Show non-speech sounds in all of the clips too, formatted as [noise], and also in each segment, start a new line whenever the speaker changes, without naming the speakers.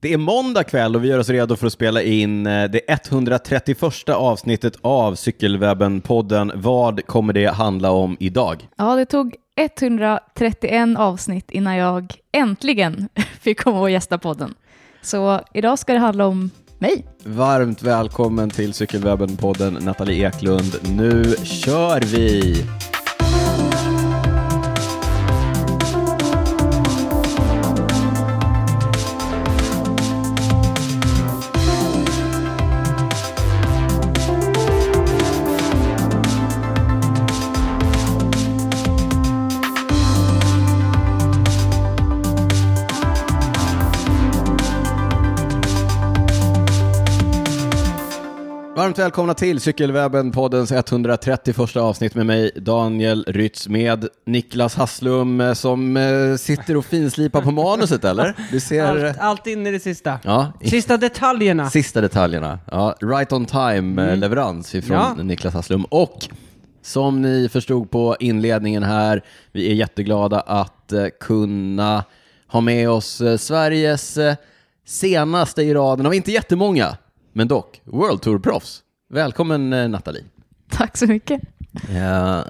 Det är måndag kväll och vi gör oss redo för att spela in eh, det 131 avsnittet av Cykelwebben-podden. Vad kommer det handla om idag?
Ja, det tog 131 avsnitt innan jag äntligen [laughs] fick komma och gästa podden. Så idag ska det handla om mig. [laughs]
Varmt välkommen till Cykelwebben-podden Nathalie Eklund. Nu kör vi! Varmt välkomna till Cykelwebben-poddens 131 avsnitt med mig Daniel Rytz med Niklas Hasslum eh, som eh, sitter och finslipar på manuset eller? Du ser...
Allt, allt in i det sista.
Ja, [laughs]
Sista detaljerna.
Ah. Sista detaljerna. Ja, right on time eh, leverans ifrån
Ja.
Niklas Hasslum. Och som ni förstod på inledningen här, vi är jätteglada att eh, kunna ha med oss eh, Sveriges eh, senaste i raden av inte jättemånga, men dock World Tour-proffs. Välkommen eh, Nathalie.
Tack så mycket.
Ja,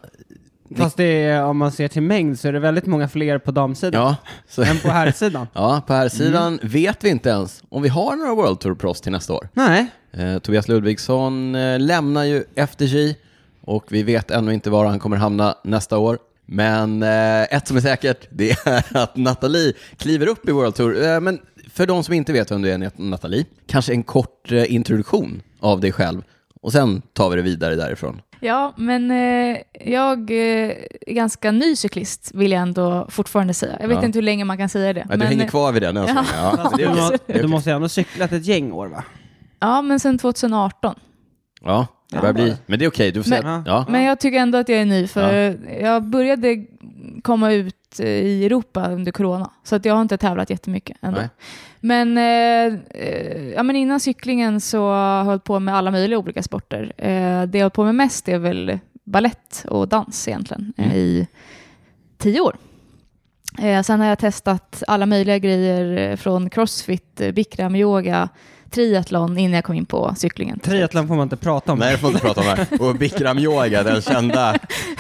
Fast det är, om man ser till mängd så är det väldigt många fler på damsidan
ja, så,
än
[laughs]
på herrsidan.
ja, på här sidan vet vi inte ens om vi har några World Tour-proffs till nästa år.
Nej,
Eh, Tobias Ludvigsson eh, lämnar ju efter sig och vi vet ännu inte var han kommer hamna nästa år. Men eh, ett som är säkert, det är [laughs] att Nathalie kliver upp i World Tour. Eh, men för de som inte vet vem du är, Nathalie, kanske en kort eh, introduktion av dig själv och sen tar vi det vidare därifrån.
Ja, men eh, jag eh, är ganska ny cyklist vill jag ändå fortfarande säga. Jag vet
Ja.
inte hur länge man kan säga det.
Ja, du hänger kvar vid den än så länge. [laughs] Ja,
Fast
det är
du,
okej.
må,
Det är
du
okej.
måste ju ändå ha cyklat ett gäng år va?
eh, Ja, men sen 2018.
ja, det börjar bli. Men det är okej, du får säga.
Men-
Ja.
Men jag tycker ändå att jag är ny för jag började komma ut eh, i Europa under corona. Så att jag har inte tävlat jättemycket ändå.
Nej.
Men, eh, eh, ja, men innan cyklingen så har jag hållit på med alla möjliga olika sporter. Eh, det jag har hållit på med mest är väl ballett och dans egentligen
Mm.
eh, i tio år. Eh, sen har jag testat alla möjliga grejer eh, från crossfit, eh, bikramyoga, triathlon innan jag kom in på cyklingen.
Triathlon får man inte prata om.
Nej, det får inte prata om här. Och bikramyoga, den kända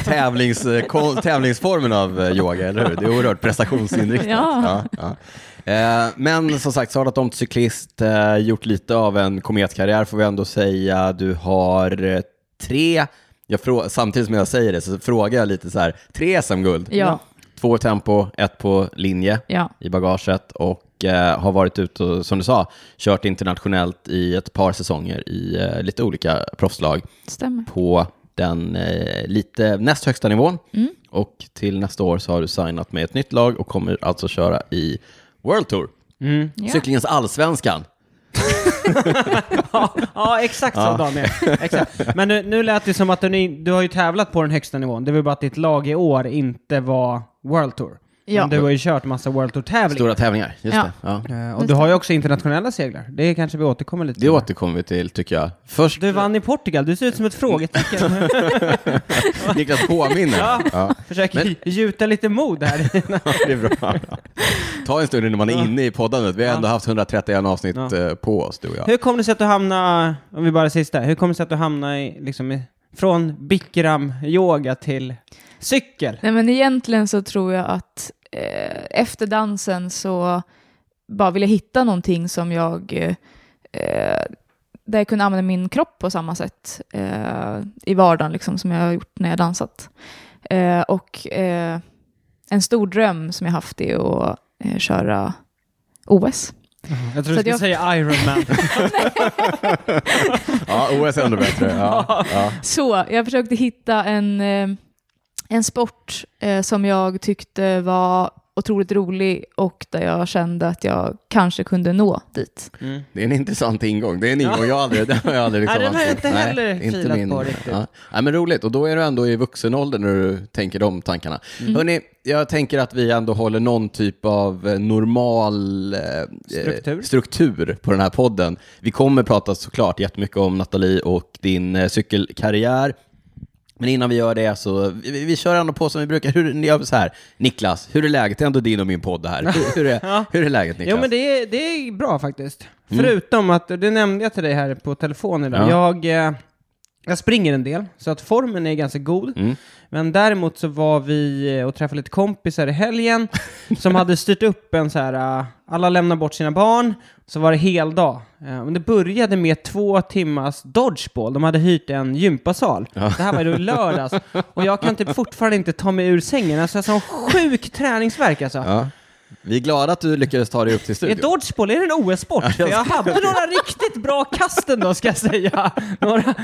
tävlings, kon, tävlingsformen av eh, yoga, eller hur? Det är oerhört prestationsinriktat.
Ja.
Ja, ja. Eh, Men som sagt, sadlat om till cyklist, eh, gjort lite av en kometkarriär får vi ändå säga. Du har eh, tre, jag frå- samtidigt som jag säger det så frågar jag lite så här, tre SM-guld.
Ja,
Två i tempo, ett på linje
ja.
i bagaget och eh, har varit ute och, som du sa, kört internationellt i ett par säsonger i eh, lite olika proffslag
stämmer.
på den eh, lite näst högsta nivån.
Mm.
Och till nästa år så har du signat med ett nytt lag och kommer alltså köra i World Tour,
Mm.
Ja.
cyklingens allsvenskan.
Ja, ja, exakt så
Ja.
Daniel. Exakt. Men nu, nu lät det som att du, ni- du har ju tävlat på den högsta nivån. Det var ju bara att ditt lag i år inte var World Tour.
Ja.
Men du har ju kört massa World Tour-tävlingar.
Stora tävlingar, just
Ja.
det. Ja.
Eh, Och du har ju också internationella seglar. Det kanske vi återkommer lite
Det återkommer vi till tycker jag.
[laughs]
Först
Du vann i Portugal, du ser ut som ett
Mm.
frågetecken.
Niklas påminner.
Ja.
Ja.
Försöker
Men-
gjuta lite mod här. [laughs]
det är bra. Ta en stund innan man är inne i poddandet. Vi har ändå haft 131 avsnitt
Ja.
eh, på oss, du och
[laughs]
jag.
Hur kom det sig att du hamnade, om vi bara sista, hur kom det sig att du hamnade i, liksom, i, från bikram-yoga till cykel?
Nej men egentligen så tror jag att eh, efter dansen så bara ville jag hitta någonting som jag eh, eh, där jag kunde använda min kropp på samma sätt eh, i vardagen liksom som jag har gjort när jag dansat. Eh, och eh, en stor dröm som jag haft är att eh, köra OS.
Jag
Så
tror du
att
skulle
jag- [laughs]
säga Ironman.
Ja, OS är ändå bättre. Ja, ja.
Så jag försökte hitta en, eh, en sport eh, som jag tyckte var otroligt rolig och där jag kände att jag kanske kunde nå dit.
Mm.
Det är en intressant ingång. Det är en ingång jag aldrig, den har jag aldrig liksom
[laughs] Nej, den har jag
haft.
inte heller filat på riktigt.
Nej, men roligt. Och då är du ändå i vuxen ålder när du tänker de tankarna.
Mm.
Hörni, jag tänker att vi ändå håller någon typ av eh, normal eh,
Struktur.
eh, struktur på den här podden. Vi kommer prata såklart jättemycket om Nathalie och din eh, cykelkarriär. Men innan vi gör det så, vi, vi- vi kör ändå på som vi brukar. Hur, ni gör så här, Niklas, hur är läget? Det är ändå din och min podd det här. Hur, hur,
[laughs]
är, hur är läget Niklas? Mm.
Jo men det är, det är bra faktiskt. Förutom att, det nämnde jag till dig här på telefon idag, jag, eh, jag springer en del, så att formen är ganska god.
Mm.
Men däremot så var vi eh, och träffade lite kompisar
[laughs]
i helgen som hade styrt upp en så här, eh, alla lämnar bort sina barn, så var det heldag. Eh, Men det började med två timmars dodgeball, de hade hyrt en gympasal. Det här var ju då i lördags. Och jag kan typ fortfarande inte ta mig ur sängen, alltså jag har sån sjuk träningsvärk alltså.
ja. Vi är glada att du lyckades ta dig upp till
Är
studion.
dodgeball, är det en OS-sport? För jag hade några riktigt bra kast ändå, ska jag säga. Några,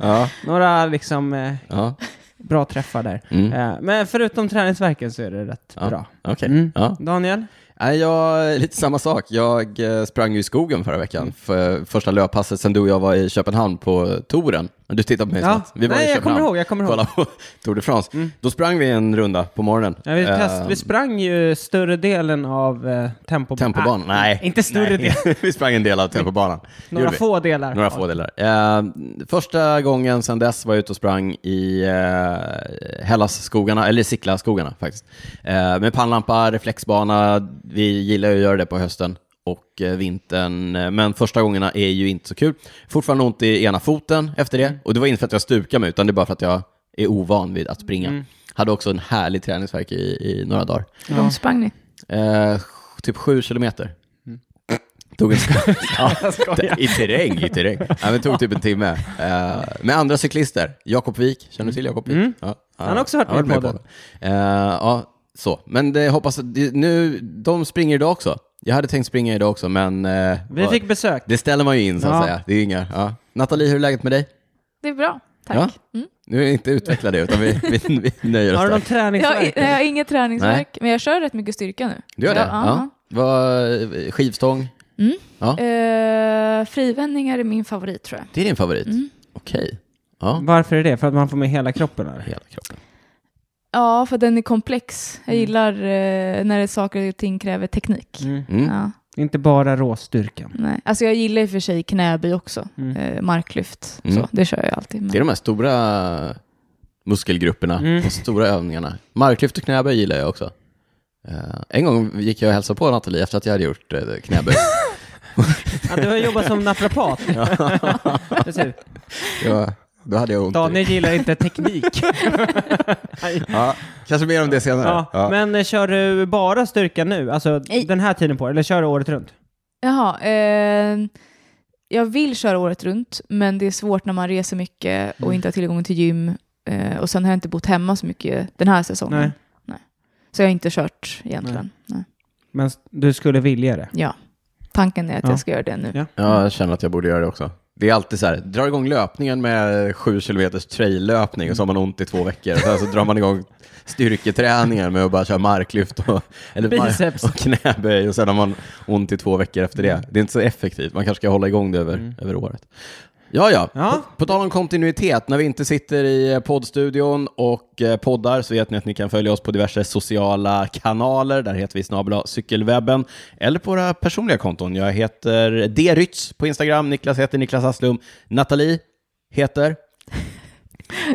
Ja,
några liksom eh,
ja,
bra träffar där.
Mm.
Eh, men förutom träningsverken så är det rätt
ja.
bra.
Okej.
Mm.
Ja.
Daniel?
Nej, jag, lite samma sak. Jag eh, sprang ju i skogen förra veckan, för första löppasset sen du och jag var i Köpenhamn på touren. Men Du tittade på mig som
Ja.
att vi var
Nej,
i
jag
Köpenhamn.
kommer ihåg, jag kommer ihåg. Mm.
Kolla på Tour de France. Då sprang vi en runda på morgonen.
Ja, vi, test,
Eh,
vi sprang ju större delen av eh, tempo-
Tempobanan?
Ah,
Nej.
Inte större del,
[laughs] Nej. vi sprang en del
[laughs]
av tempobanan. Det
några
gjorde vi.
få delar.
Några
[laughs]
få delar. Eh, första gången sedan dess var jag ute och sprang i eh, Hellasskogarna, eller Siklaskogarna faktiskt. Eh, med pannlampa, reflexbana, vi gillar ju att göra det på hösten och eh, vintern. Eh, Men första gångerna är ju inte så kul. Fortfarande ont i ena foten efter det. Och det var inte för att jag stukade mig, utan det är bara för att jag är ovan vid att springa. Hade också en härlig träningsvärk i, i några dagar.
Hur långt sprang ni?
Eh, typ sju kilometer. Tog en skoja.
skojar.
I terräng, i
[laughs]
terräng. Nej, men tog typ en timme. Eh, med andra cyklister. Jakob Wik, känner du till Jakob Wik?
Mm.
Ja,
Han har också varit med i
på
podden.
den. Eh, ja, så. Men det, hoppas att det, nu, de springer idag också. Jag hade tänkt springa idag också, men eh,
Vi
vad-
fick besök.
det ställer man ju in så att
Ja.
säga. Det är ju inga, ja. Nathalie, hur är läget med dig?
Det är bra, tack.
Ja.
Mm.
Nu är vi inte utvecklade utan vi, vi, vi nöjer oss
Har du någon
där.
Jag, har, i-
träningsvärk?
jag har inget träningsvärk, men jag kör rätt mycket styrka nu.
Du gör det?
Ja, aha.
Ja. Vad- Skivstång?
Mm.
Ja.
Eh, frivändningar är min favorit tror jag.
Det är din favorit? Okej. Ja.
Varför är det? För att man får med hela kroppen? Eller?
Hela kroppen.
Ja, för den är komplex. Jag gillar eh, när det saker och ting kräver teknik.
Mm.
Mm. Mm.
Ja,
Inte
[laughs]
bara råstyrkan.
nej. Alltså jag gillar i och för sig knäböj också,
Mm.
eh, marklyft.
Mm.
Så, det kör jag alltid. Men...
Det är de här stora muskelgrupperna,
Mm.
de stora övningarna. Marklyft och knäböj gillar jag också. Eh, en gång gick jag och hälsade på Nathalie efter att jag hade gjort eh, [laughs] knäböj.
Ja, du har jobbat som naprapat. [laughs] Det ser ut.
Det var- då hade jag ont. i-
Daniel gillar
[laughs]
inte teknik.
Ja, kanske mer om det senare.
ja,
Ja.
Men eh, kör du bara styrka nu, alltså
Nej.
den här tiden på året, eller kör du året runt?
Jaha, eh, jag vill köra året runt, men det är svårt när man reser mycket
Mm.
och inte har tillgång till gym. Eh, och sen har jag inte bott hemma så mycket den här säsongen.
Nej.
Så jag har inte kört egentligen. Nej.
Men s- du skulle vilja det?
Ja, tanken är att
Ja.
jag ska göra det nu. [laughs]
Ja.
Ja, jag känner att jag borde göra det också. Det är alltid så här, drar igång löpningen med 7 km trail-löpning och så har man ont i två veckor. Sen så drar man igång styrketräningen med att bara köra marklyft och, eller mar-
Biceps.
och knäböj och sen har man ont i två veckor efter det. Det är inte så effektivt, man kanske ska hålla igång det över, över året. Ja, ja.
Ja.
På, på tal om kontinuitet, när vi inte sitter i eh, poddstudion och eh, poddar så vet ni att ni kan följa oss på diverse sociala kanaler. Där heter vi snabla cykelwebben eller på våra personliga konton. Jag heter Drytz på Instagram, Niklas heter Niklas Asplum, Nathalie heter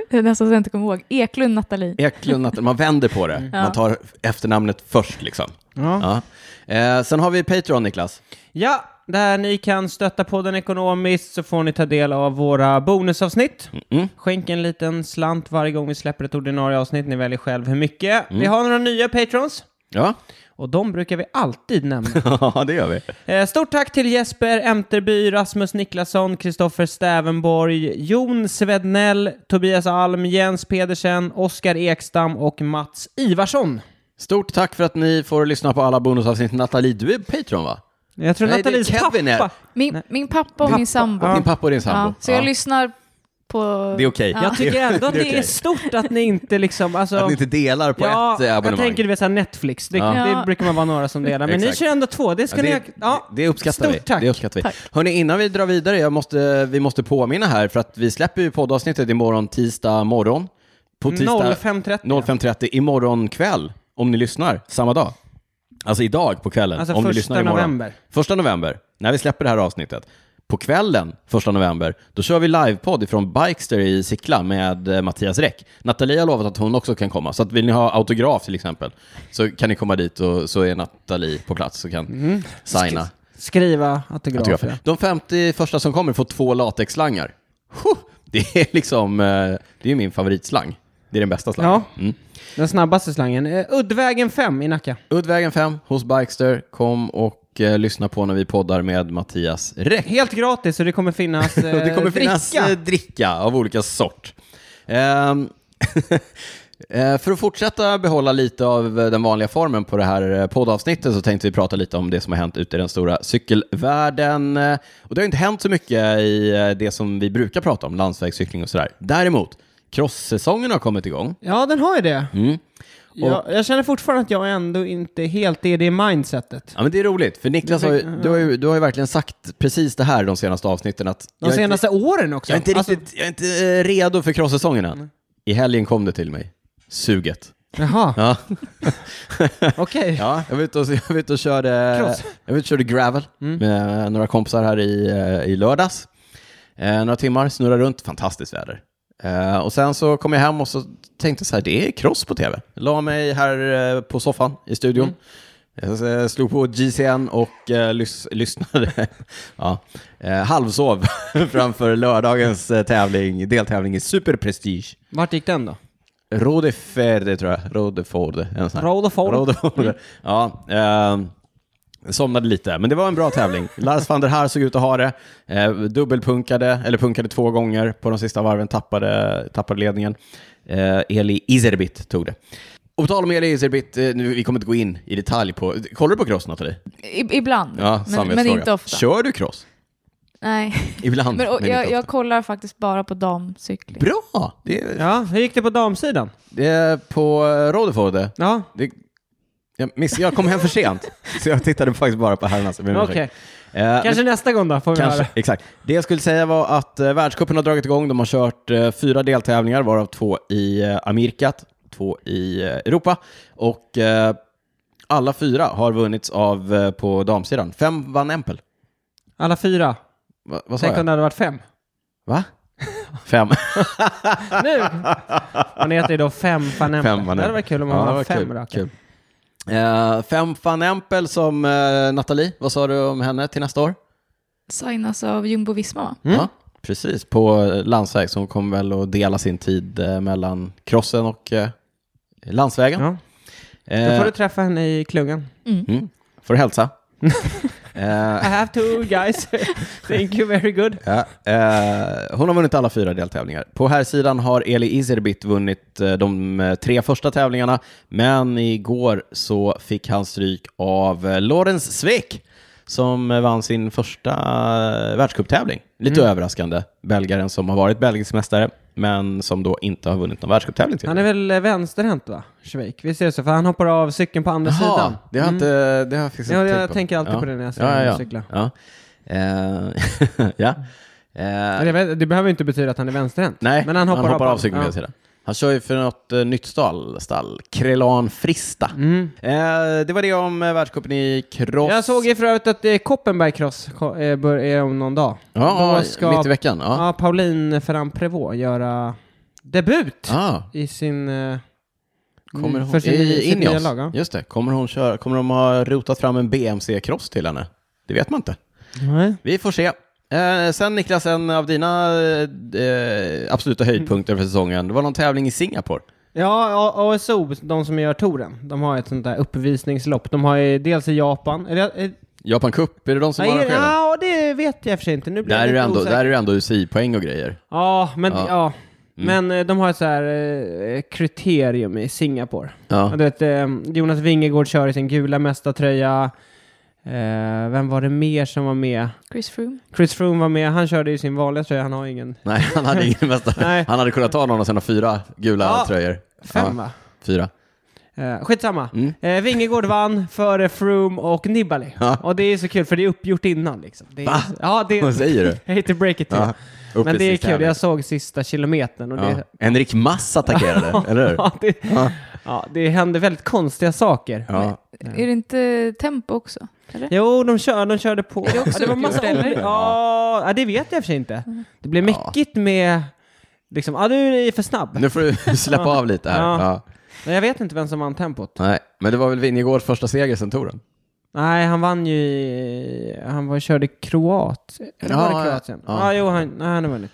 Det är nästan så jag inte kommer ihåg. Eklund Nathalie.
Eklund Nathalie. Man vänder på det, man tar efternamnet först liksom.
Ja.
Ja. Eh, sen har vi Patreon, Niklas.
ja, där ni kan stötta podden ekonomiskt så får ni ta del av våra bonusavsnitt.
Mm.
Skänk en liten slant varje gång vi släpper ett ordinarie avsnitt, ni väljer själv hur mycket.
Mm.
Vi har några nya patrons.
Ja,
Och de brukar vi alltid nämna.
[laughs] ja det gör vi.
Eh, Stort tack till Jesper Emterby, Rasmus Niklasson, Kristoffer Stävenborg, Jon Svednell, Tobias Alm, Jens Pedersen, Oskar Ekstam och Mats Ivarsson.
Stort tack för att ni får lyssna på alla bonusavsnitt. Nathalie, du är Patreon va?
Jag tror
Nej, det är
Nathalies
Kevin här.
pappa...
Min, min pappa och min sambo.
Din pappa och din sambo.
Ja, så jag lyssnar på...
Det är okej.
Ja.
Jag tycker
[laughs]
ändå att
Det är
det är
okej.
stort att ni inte liksom... Alltså,
Att ni inte delar på
ja,
ett eh,
jag
abonnemang.
tänker du vet såhär Netflix, det,
Ja.
det brukar man vara några som delar. Men ni
Exakt.
kör ändå två, det ska
Ja, det,
ni... Ja,
det uppskattar
stort
vi.
tack.
Det uppskattar vi.
Tack.
Hörrni, innan vi drar vidare, jag måste, vi måste påminna här för att vi släpper ju poddavsnittet imorgon tisdag morgon. På tisdag
05.30.
05.30 imorgon kväll, om ni lyssnar, samma dag. Alltså idag på kvällen,
Alltså
om ni
första
lyssnar imorgon.
november.
Första november, när vi släpper det här avsnittet. på kvällen, första november, då kör vi livepodd ifrån Bikester i Sickla med eh, Mattias Räck. Nathalie har lovat att hon också kan komma, så att vill ni ha autograf till exempel så kan ni komma dit och så är Nathalie på plats och kan
Mhm.
signa.
Skriva autografer.
autografer. De 50 första som kommer får två latexslangar. Huh! Det är liksom, eh, det är min favoritslang. Det är den bästa slangen.
Ja,
Mm.
den snabbaste slangen. Eh, Uddvägen 5 i Nacka.
Uddvägen 5 hos Bikester. Kom och eh, lyssna på när vi poddar med Mattias Räck.
Helt gratis så det
[laughs]
kommer finnas eh,
Och det kommer finnas
dricka.
eh, dricka av olika sort. Ehm, [laughs] eh, För att fortsätta behålla lite av eh, den vanliga formen på det här eh, poddavsnittet så tänkte vi prata lite om det som har hänt ute i den stora cykelvärlden. Eh, Och det har inte hänt så mycket i eh, det som vi brukar prata om, landsvägscykling och sådär. Däremot, cross-säsongen har kommit igång.
Ja, den har ju det.
Mm.
Jag, jag känner fortfarande att jag ändå inte helt är det mindsetet.
Ja, men det är roligt, för Niklas har ju,
Mm.
du har ju, du har ju verkligen sagt precis det här de senaste avsnitten att
De
jag, är inte,
senaste åren också.
jag, är inte
Alltså,
riktigt, jag är inte eh, redo för cross-säsongen än. I helgen kom det till mig, suget.
Jaha,
Ja,
okej.
ja jag var ute och, jag var ute och körde,
Cross. Mm.
jag var ute och körde gravel med eh, några kompisar här i, eh, i lördags. Eh, några timmar, snurra runt, fantastiskt väder. Eh, och sen så kom jag hem och så tänkte jag så här, det är cross på tv. La mig här eh, på soffan i studion.
Mm.
Jag eh, slog på GCN och eh, lys- [laughs] lyssnade. ja. eh, halvsov [laughs] framför lördagens eh, tävling, deltävling i Super Prestige.
Vart gick den då?
Rode Ferde tror jag. Rode Forde. En sån här.
Rode Forde.
Rode
Mm.
Forde. Ja, ehm, somnade lite, men det var en bra
[laughs]
tävling. Lars van der Haar såg ut att ha det. Eh, dubbelpunkade, eller punkade två gånger på de sista varven, tappade, tappade ledningen. Eh, Eli Izerbit tog det. Och på tal om Eli Izerbit, eh, nu, vi kommer inte gå in i detalj på... Kollar du på cross, Nathalie?
I, ibland,
Ja,
men,
samvetsfråga.
men inte ofta.
Kör du cross?
Nej.
Ibland, [laughs]
Men,
men,
och,
inte
jag,
ofta.
jag kollar faktiskt bara på damcykling.
Bra! Det är,
Ja, hur gick det på damsidan?
det är på Rode Forde.
Ja,
Det, jag, miss, jag kom hem för
[laughs]
sent, så jag tittade faktiskt bara på herrarnas. Jag ber om
okej.
ursäkt. Eh,
Kanske nästa gång då, får vi
men-
höra.
kanske, exakt. Det jag skulle säga var att eh, världscupen har dragit igång. De har kört eh, fyra deltävlingar, varav två i eh, Amerikat, två i eh, Europa. Och eh, alla fyra har vunnits av eh, på damsidan. Fem vann Empel.
Alla fyra.
Va, vad sa
Tänk om
jag?
det hade varit fem.
Va?
[laughs]
Fem. [laughs]
Nu! Man heter ju då fem Van
Fem Van
Fem Det hade
Empel.
varit kul om man
Ja, det
hade
var
fem
kul,
raka.
kul. Eh, fem van Empel som eh, Nathalie, vad sa du om henne till nästa år?
Signas av Jumbo Visma va?
Mm.
Ja, precis. På eh, landsväg. Så hon kommer väl att dela sin tid eh, mellan crossen och eh, landsvägen.
Ja. Då
Eh,
får du träffa henne i klungan.
mm, får du
[laughs]
hälsa. eh,
I have two
[laughs]
guys. Thank you very good.
ja, eh, hon har vunnit alla fyra deltävlingar. På här sidan har Eli Izerbit vunnit eh, de eh, tre första tävlingarna, men igår så fick han stryk av eh, Lorenz Zweck som eh, vann sin första eh, världscuptävling. Lite
Mm.
överraskande, belgaren som har varit belgisk mästare, men som då inte har vunnit någon världscuptävling till.
Han är väl eh, vänsterhänt va? Schweik. Visst är det så? För han hoppar av cykeln på andra
Jaha,
sidan. Mm.
Det har, jag inte, det har jag faktiskt
Ja,
inte
jag
tänkt på.
tänker alltid på det när jag ska
ja, ja.
cykla.
Ja. Eh, [laughs] ja. Eh,
Men jag vet- Det behöver ju inte betyda att han är vänsterhänt.
nej,
men han hoppar,
av,
på-
cykeln på
ja.
den sidan. Han kör ju för något eh, nytt stall, stall. Krelan Frista. Eh, det var det om eh, världscupen i cross.
Mm. Jag såg ju för övrigt att eh, Koppenberg Cross ko- eh, bör- är om någon dag.
ja,
Då ska
mitt i veckan. Ja.
ja, Pauline Ferrand-Prévot göra debut
Ah,
i sin... eh,
kommer hon
för sin,
i, in
sin
i
nya
oss?
lag, ja.
Just det. Kommer, hon köra, kommer de ha rotat fram en BMC-cross till henne? Det vet man inte.
Nej.
Vi får se. Eh, sen Niklas, en av dina eh, eh, absoluta höjdpunkter för säsongen, det var någon tävling i Singapore.
Ja, A- ASO, de som gör touren, de har ett sånt där uppvisningslopp. De har ju dels i Japan, eller... eh,
Japan Cup, är det de som
nej,
arrangerar den?
ja, det vet jag i och för sig inte. Nu blir
Där
jag
är det
lite
ändå,
osäker.
där är det ändå UCI-poäng och grejer.
Ja, men,
Ja. Mm.
ja. men eh, de har ett så här eh, kriterium i Singapore.
Ja.
Du vet, eh, Jonas Vingegård kör i sin gula mästartröja. Eh, vem var det mer som var med?
Chris Froome.
Chris Froome var med. Han körde i sin vanliga tröja. Han har ingen...
Nej, han hade ingen mästare.
Nej.
Han hade kunnat ta någon av sina fyra gula
Ja.
tröjor.
Fem,
Ja,
va?
fyra.
Eh, skitsamma.
Mm.
Eh, Vingegård vann före Froome och Nibali.
Ja.
Och det är så kul, för det är uppgjort innan. Liksom. Det är,
Va?
Ja,
[laughs]
det,
Vad säger du?
jag hate to break it to you.
Ja. Upp
Men
i
det är
sista
kul.
tävling.
Jag såg sista kilometern. Och
Ja. Enrik Mass attackerade, eller hur?
det, [laughs] ja, det, Ja, det händer väldigt konstiga saker.
Ja.
Är det inte tempo också? Eller?
Jo, de, kör, de körde på.
det också Mm.
ja, det var
gjort,
massa
eller?
omröstningar. Ja, ja, det vet jag i och för sig inte. Det blev
Ja.
mäckigt med... Liksom, ja, du är för snabb.
Nu får du [laughs] släppa av lite här.
Ja.
Ja.
Nej, jag vet inte vem som vann tempot.
Nej, men det var väl Vingegårds första seger sen touren?
Nej, han vann ju i... Han var, körde kroat. Eller var
Ja,
det Kroatien?
ja.
Ja, jo, han, nej, han har vunnit.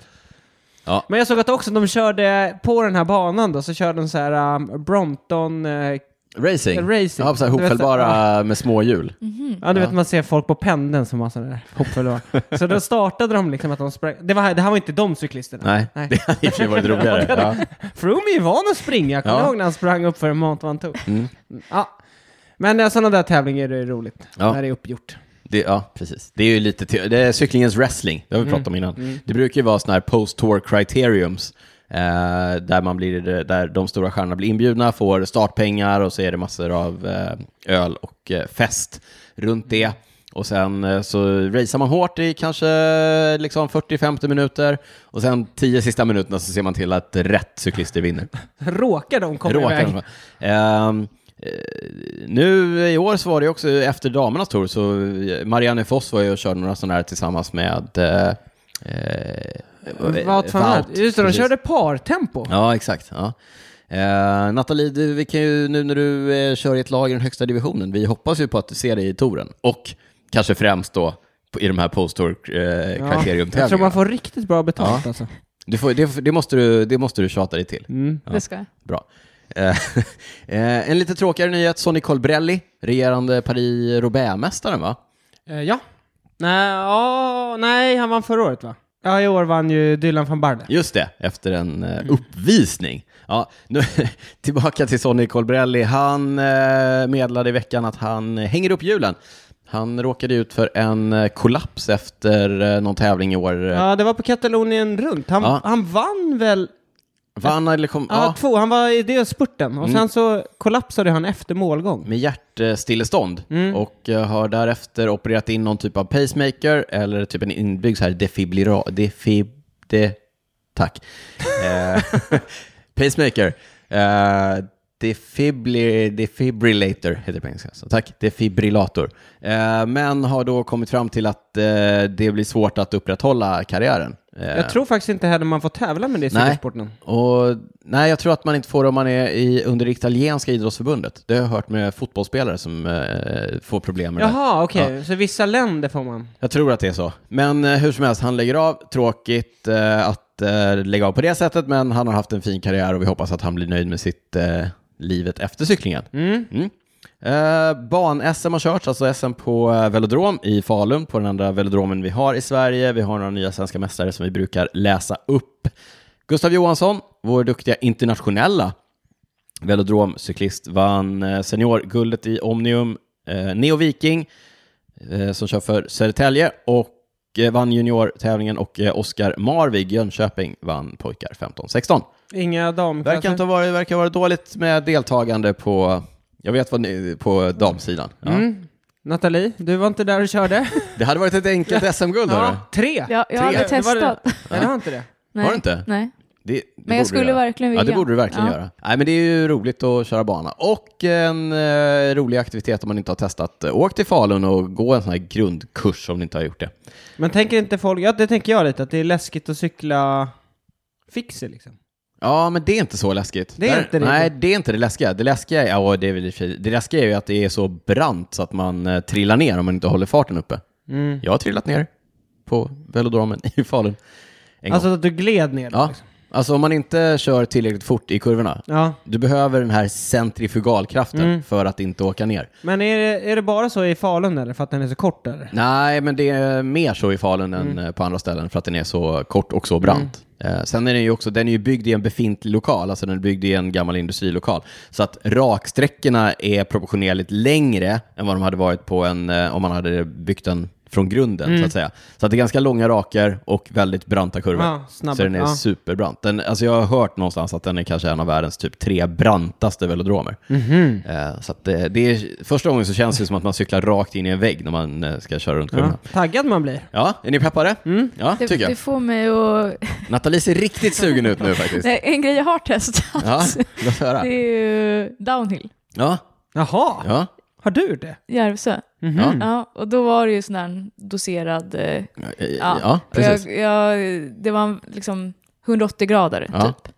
Ja.
Men jag såg att också de körde på den här banan då, så körde de så här um, Brompton... eh,
Racing?
Racing.
Ja, så här
Du vet,
hopfällbara med små hjul.
Mhm.
ja, du
Ja.
vet man ser folk på pendeln som har sådana där hoppfällor. så då startade de liksom att de sprang... Det, var, det här var inte de cyklisterna.
Nej,
Nej.
[laughs] det hade i och för sig varit roligare. Ja.
Froome är ju van att springa. Jag kommer
Ja.
ihåg när han sprang upp för Mont Ventoux.
Mm.
Ja. Men sådana där tävlingar är det roligt.
Ja.
När det är uppgjort.
Det, ja, precis. Det är ju lite te- det är cyklingens wrestling, det har vi pratat om innan. Det brukar ju vara sådana här post-tour criteriums, eh, där, man blir, där de stora stjärnorna blir inbjudna, får startpengar och så är det massor av eh, öl och eh, fest runt det. Och sen eh, så racear man hårt i kanske eh, liksom 40-50 minuter och sen 10 sista minuterna så ser man till att rätt cyklister vinner.
Råkar de komma
Råkar
iväg?
de. Ehm, eh, nu i år så var det också efter damernas tour så eh, Marianne Foss var ju och körde några sådana här tillsammans med eh, eh,
Wout van Aert. Just det, de
precis.
körde partempo.
Ja, exakt. Ja. Eh, Nathalie, du, vi kan ju, nu när du eh, kör i ett lag i den högsta divisionen, vi hoppas ju på att du ser dig i touren och kanske främst då på- i de här post-tour eh,
Ja.
kriteriumtävlingarna.
Jag tror man får riktigt bra betalt
Ja.
alltså.
du får, det, det, måste du, det måste du tjata dig till.
Mm.
Ja.
Det ska jag.
Bra. Eh, [laughs] eh, en lite tråkigare nyhet, Sonny Colbrelli, regerande Paris-Roubaix-mästaren va?
Eh, ja. Nej, ja, nej, han vann förra året va? Ja, i år vann ju Dylan van Barle.
Just det, efter en eh,
Mm.
uppvisning. Ja, nu, [laughs] tillbaka till Sonny Colbrelli. Han eh, meddelade i veckan att han eh, hänger upp hjulen. Han råkade ut för en eh, kollaps efter eh, någon tävling i år. Eh,
Ja, det var på Katalonien runt. Han,
Ja.
han vann väl...
Vann eller kom...
Ja,
Ja,
två. Han var i det spurten. Och
Mm.
sen så kollapsade han efter målgång.
med hjärtstillestånd
Mm.
och eh, har därefter opererat in någon typ av pacemaker eller typ en inbyggd så här defibrilla... Defib... De, tack. Eh, [laughs] pacemaker. Eh, defibri, defibrillator heter det på engelska. Så, tack. Defibrillator. Eh, men har då kommit fram till att eh, det blir svårt att upprätthålla karriären. Eh,
Jag tror faktiskt inte heller man får tävla med det i
Nej.
cykelsporten.
och, nej, jag tror att man inte får det om man är i, under det italienska idrottsförbundet. Det har jag hört med fotbollsspelare som eh, får problem med det.
Jaha, okej. Så vissa länder får man.
Jag tror att det är så. Men eh, hur som helst, han lägger av. Tråkigt eh, att eh, lägga av på det sättet, men han har haft en fin karriär och vi hoppas att han blir nöjd med sitt eh, livet efter cyklingen.
Mm.
Mm. Eh, Ban-SM har körts, alltså SM på eh, velodrom i Falun, på den andra velodromen vi har i Sverige. Vi har några nya svenska mästare som vi brukar läsa upp. Gustav Johansson, vår duktiga internationella velodromcyklist, vann eh, seniorguldet i Omnium. Eh, Neo Viking, eh, som kör för Södertälje, och eh, vann juniortävlingen och eh, Oskar Marvig, Jönköping, vann pojkar 15-16.
Inga damklasser.
Verkar inte ha varit, verkar ha varit dåligt med deltagande på, jag vet vad ni, på damsidan. Ja.
Mm. Nathalie, du var inte där
[laughs]
och körde.
Det hade varit ett
[laughs]
enkelt SM-guld, hörru.
tre!
Jag, jag har aldrig
Det var det.
testat.
Nej, det var inte det.
Nej.
Har du inte?
Nej.
Det, det borde du
Men jag skulle
göra.
verkligen vilja.
Ja, det borde du verkligen
Ja.
göra. Nej, men det är ju roligt att köra bana. Och en eh, rolig aktivitet om man inte har testat. eh, Åk till Falun och gå en sån här grundkurs om ni inte har gjort det.
Men tänker inte folk, ja det tänker jag lite, att det är läskigt att cykla fixer liksom.
Ja, men det är inte så läskigt.
Det är inte det.
Nej, det är inte det läskiga. Det läskiga, är, ja, det är, väl i och för sig- det läskiga är ju att det är så brant så att man eh, trillar ner om man inte håller farten uppe.
Mm.
Jag har trillat ner på velodromen i Falun. En
Alltså
gång.
att du gled ner.
Ja.
Liksom.
Alltså om man inte kör tillräckligt fort i kurvorna,
ja.
du behöver den här centrifugalkraften
Mm.
för att inte åka ner.
Men är det, är det bara så i Falun eller? För att den är så kort eller? Mm.
Nej, men det är mer så i Falun än eh, på andra ställen för att den är så kort och så brant. Eh, sen är den ju också, den är ju byggd i en befintlig lokal, alltså den är byggd i en gammal industrilokal. Så att raksträckorna är proportionerligt längre än vad de hade varit på en, eh, om man hade byggt en från grunden
Mm.
så att säga. Så att det är ganska långa raker och väldigt branta kurvor.
Ja, snabba.
så den är
ja.
superbrant. Den, alltså jag har hört någonstans att den är kanske en av världens typ tre brantaste velodromer.
Mhm.
Eh, så att det, det är, första gången så känns det som att man cyklar rakt in i en vägg när man eh, ska köra runt kurvorna.
Ja.
Ja.
Taggad man blir. Mm.
är ni peppade? Ja,
Det,
tycker jag.
det får mig att...
Nathalie ser riktigt sugen ut nu faktiskt.
Nej, en grej jag har testat, [laughs]
Ja, låt höra.
det är ju downhill,
Ja,
Jaha,
ja.
har du det?
Järvsö.
Mhm.
Ja.
Ja, och då var det ju sån här doserad... eh,
Ja,
Ja.
ja
och
precis.
Jag, jag, det var en, liksom 180 grader
Ja.
typ.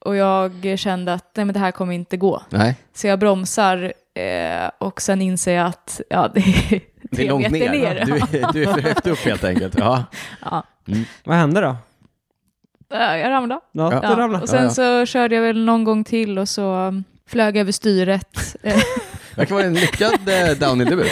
Och jag kände att nej, men det här kommer inte gå.
Nej.
Så jag bromsar eh, och sen inser jag att ja, det [laughs] är
Det är
tre
långt
meter
ner.
ner.
Du, är, du är för högt upp helt enkelt. Ja.
Ja.
Vad hände då?
Ja, Jag ramlade.
Ja,
Ja.
Du ramlade.
Och sen
Ja, ja.
så körde jag väl någon gång till och så um, flög jag över styret. Eh,
Verkar vara en lyckad eh, downhill-debut.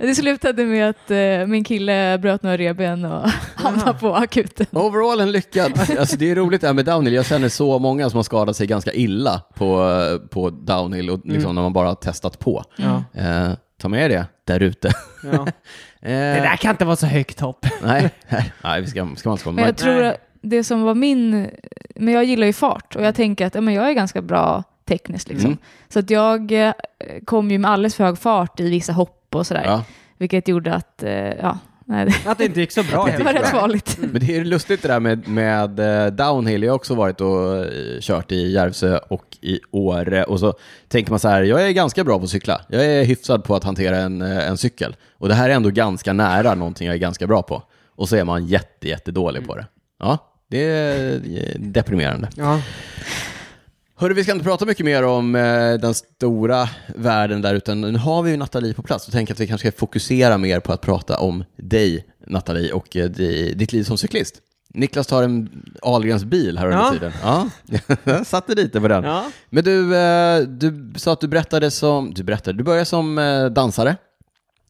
det slutade med att eh, min kille bröt några revben och hamnade på akuten.
Overall en lyckad. Alltså, det är roligt det här med downhill. Jag känner så många som har skadat sig ganska illa på, eh, på downhill och liksom när man bara har testat på.
Ja.
Eh, ta med er det där ute.
Ja.
Eh,
[laughs] Det där kan inte vara så högt hopp.
Nej, nej, nej vi ska, ska man inte komma.
Men
Men,
jag tror att det som var min... Men jag gillar ju fart och jag tänker att ja, men jag är ganska bra tekniskt liksom.
Mm.
Så att jag eh, kom ju med alldeles för hög fart i vissa hopp och sådär.
ja.
Vilket gjorde att, eh, ja, nej, det
Att det inte gick så bra.
Det
var
gick
rätt
bra.
farligt.
men det är lustigt det där med, med eh, downhill. Jag har också varit och eh, kört i Järvsö och i Åre och så tänker man så här, jag är ganska bra på att cykla. Jag är hyfsad på att hantera en, eh, en cykel och det här är ändå ganska nära någonting jag är ganska bra på. Och så är man jätte, jätte dålig på det. Ja, det är eh, deprimerande.
Ja.
Hörru, vi ska inte prata mycket mer om eh, den stora världen där, utan nu har vi ju Nathalie på plats och tänker att vi kanske ska fokusera mer på att prata om dig, Nathalie, och eh, di- ditt liv som cyklist. Niklas tar en Ahlgrens bil här under
Ja.
tiden. Ja, [laughs] jag satte lite på den.
Ja.
Men du, eh, du sa att du berättade som, du berättade, du började som eh, dansare,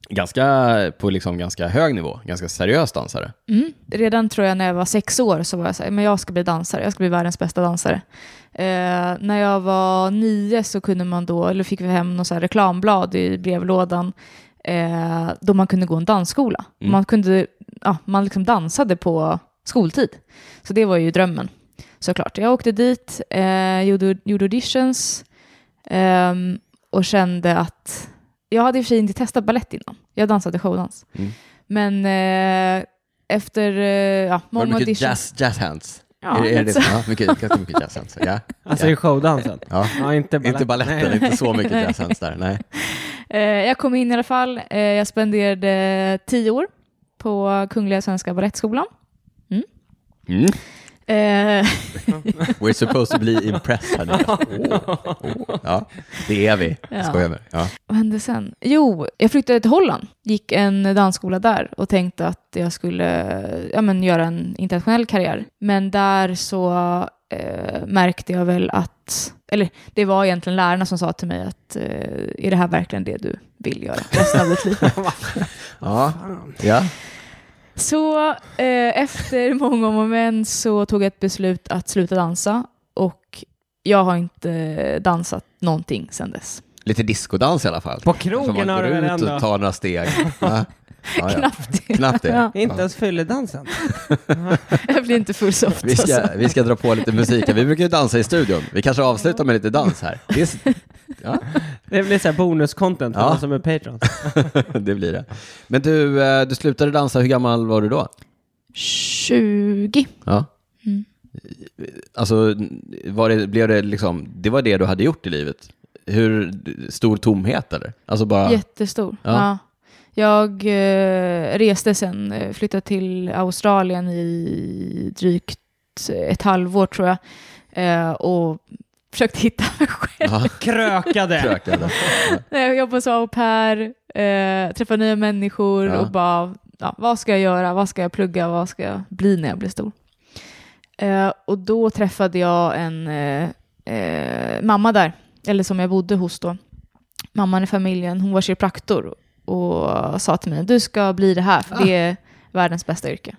ganska, på liksom ganska hög nivå, ganska seriös dansare.
Mm. Redan tror jag när jag var sex år så var jag så här, men jag ska bli dansare, jag ska bli världens bästa dansare. Eh, när jag var nio så kunde man då, eller fick vi hem något så här reklamblad i brevlådan eh, då man kunde gå en dansskola.
Mm.
Man, kunde, ja, man liksom dansade på skoltid. Så det var ju drömmen såklart. Jag åkte dit, eh, gjorde, gjorde auditions ehm, och kände att jag hade i och för sig inte testat ballett innan. Jag dansade showdans.
Mm.
Men eh, efter eh, ja,
Var det
många
mycket
auditions...
jazz, jazz hands?
Ja,
är det, är det
lite
det? Ja, mycket, ganska mycket jazz hands. Ja.
Alltså i showdansen.
Ja.
Ja, inte ballett.
Inte baletten,
Nej.
inte så
[laughs]
mycket
Nej.
jazzhands där. Nej.
Eh, jag kom in i alla fall. Eh, jag spenderade tio år på Kungliga Svenska Balettskolan. Eh,
Mm. We're supposed to be impressed här
[laughs]
Niklas. Åh, åh. Ja, det är vi.
Ja.
Jag skojar med dig. ja.
Vad hände sen? Jo, jag flyttade till Holland. Gick en dansskola där och tänkte att jag skulle ja, men, göra en internationell karriär. Men där så eh, märkte jag väl att... Eller det var egentligen lärarna som sa till mig att eh, är det här verkligen det du vill göra [laughs] resten av ditt liv?
[laughs]
Ja. Ja.
Så eh, efter många om och men så tog jag ett beslut att sluta dansa och jag har inte dansat någonting sedan dess.
Lite diskodans i alla fall.
På
Så
krogen
man
har
går
du väl
ut
ändå?
och tar några steg. Ja. Ja, ja.
Knappt
[laughs]
det.
Knappt det.
Ja.
Inte
Ja.
ens fylledansen.
Jag blir inte alltså. full så ofta.
Vi
så.
ska, vi ska dra på lite musik. här. Vi brukar ju dansa i studion. Vi kanske avslutar med lite dans här. Det, är, s- ja,
Det blir så här bonuscontent för
Ja.
de som är patrons.
det blir det. Men du, eh, du slutade dansa. Hur gammal var du då?
20.
Ja.
Mm.
Alltså, var det, blev det liksom, det var det du hade gjort i livet? Hur stor tomhet eller? Alltså bara,
Jättestor.
Ja.
Ja. Jag eh, reste sen, eh, flyttade till Australien i drygt ett halvår tror jag. Eh, och försökte hitta mig själv.
[laughs] ja,
[laughs] Krökade!
[laughs]
krökade.
Nej, Eh, Jag jobbade som au pair, eh, träffade nya människor
Ja.
och bara, ja, vad ska jag göra, vad ska jag plugga, vad ska jag bli när jag blir stor? Eh, och då träffade jag en eh, eh, mamma där, eller som jag bodde hos då. Mamman i familjen, hon var kiropraktor och sa till mig, du ska bli det här, för det är världens bästa yrke.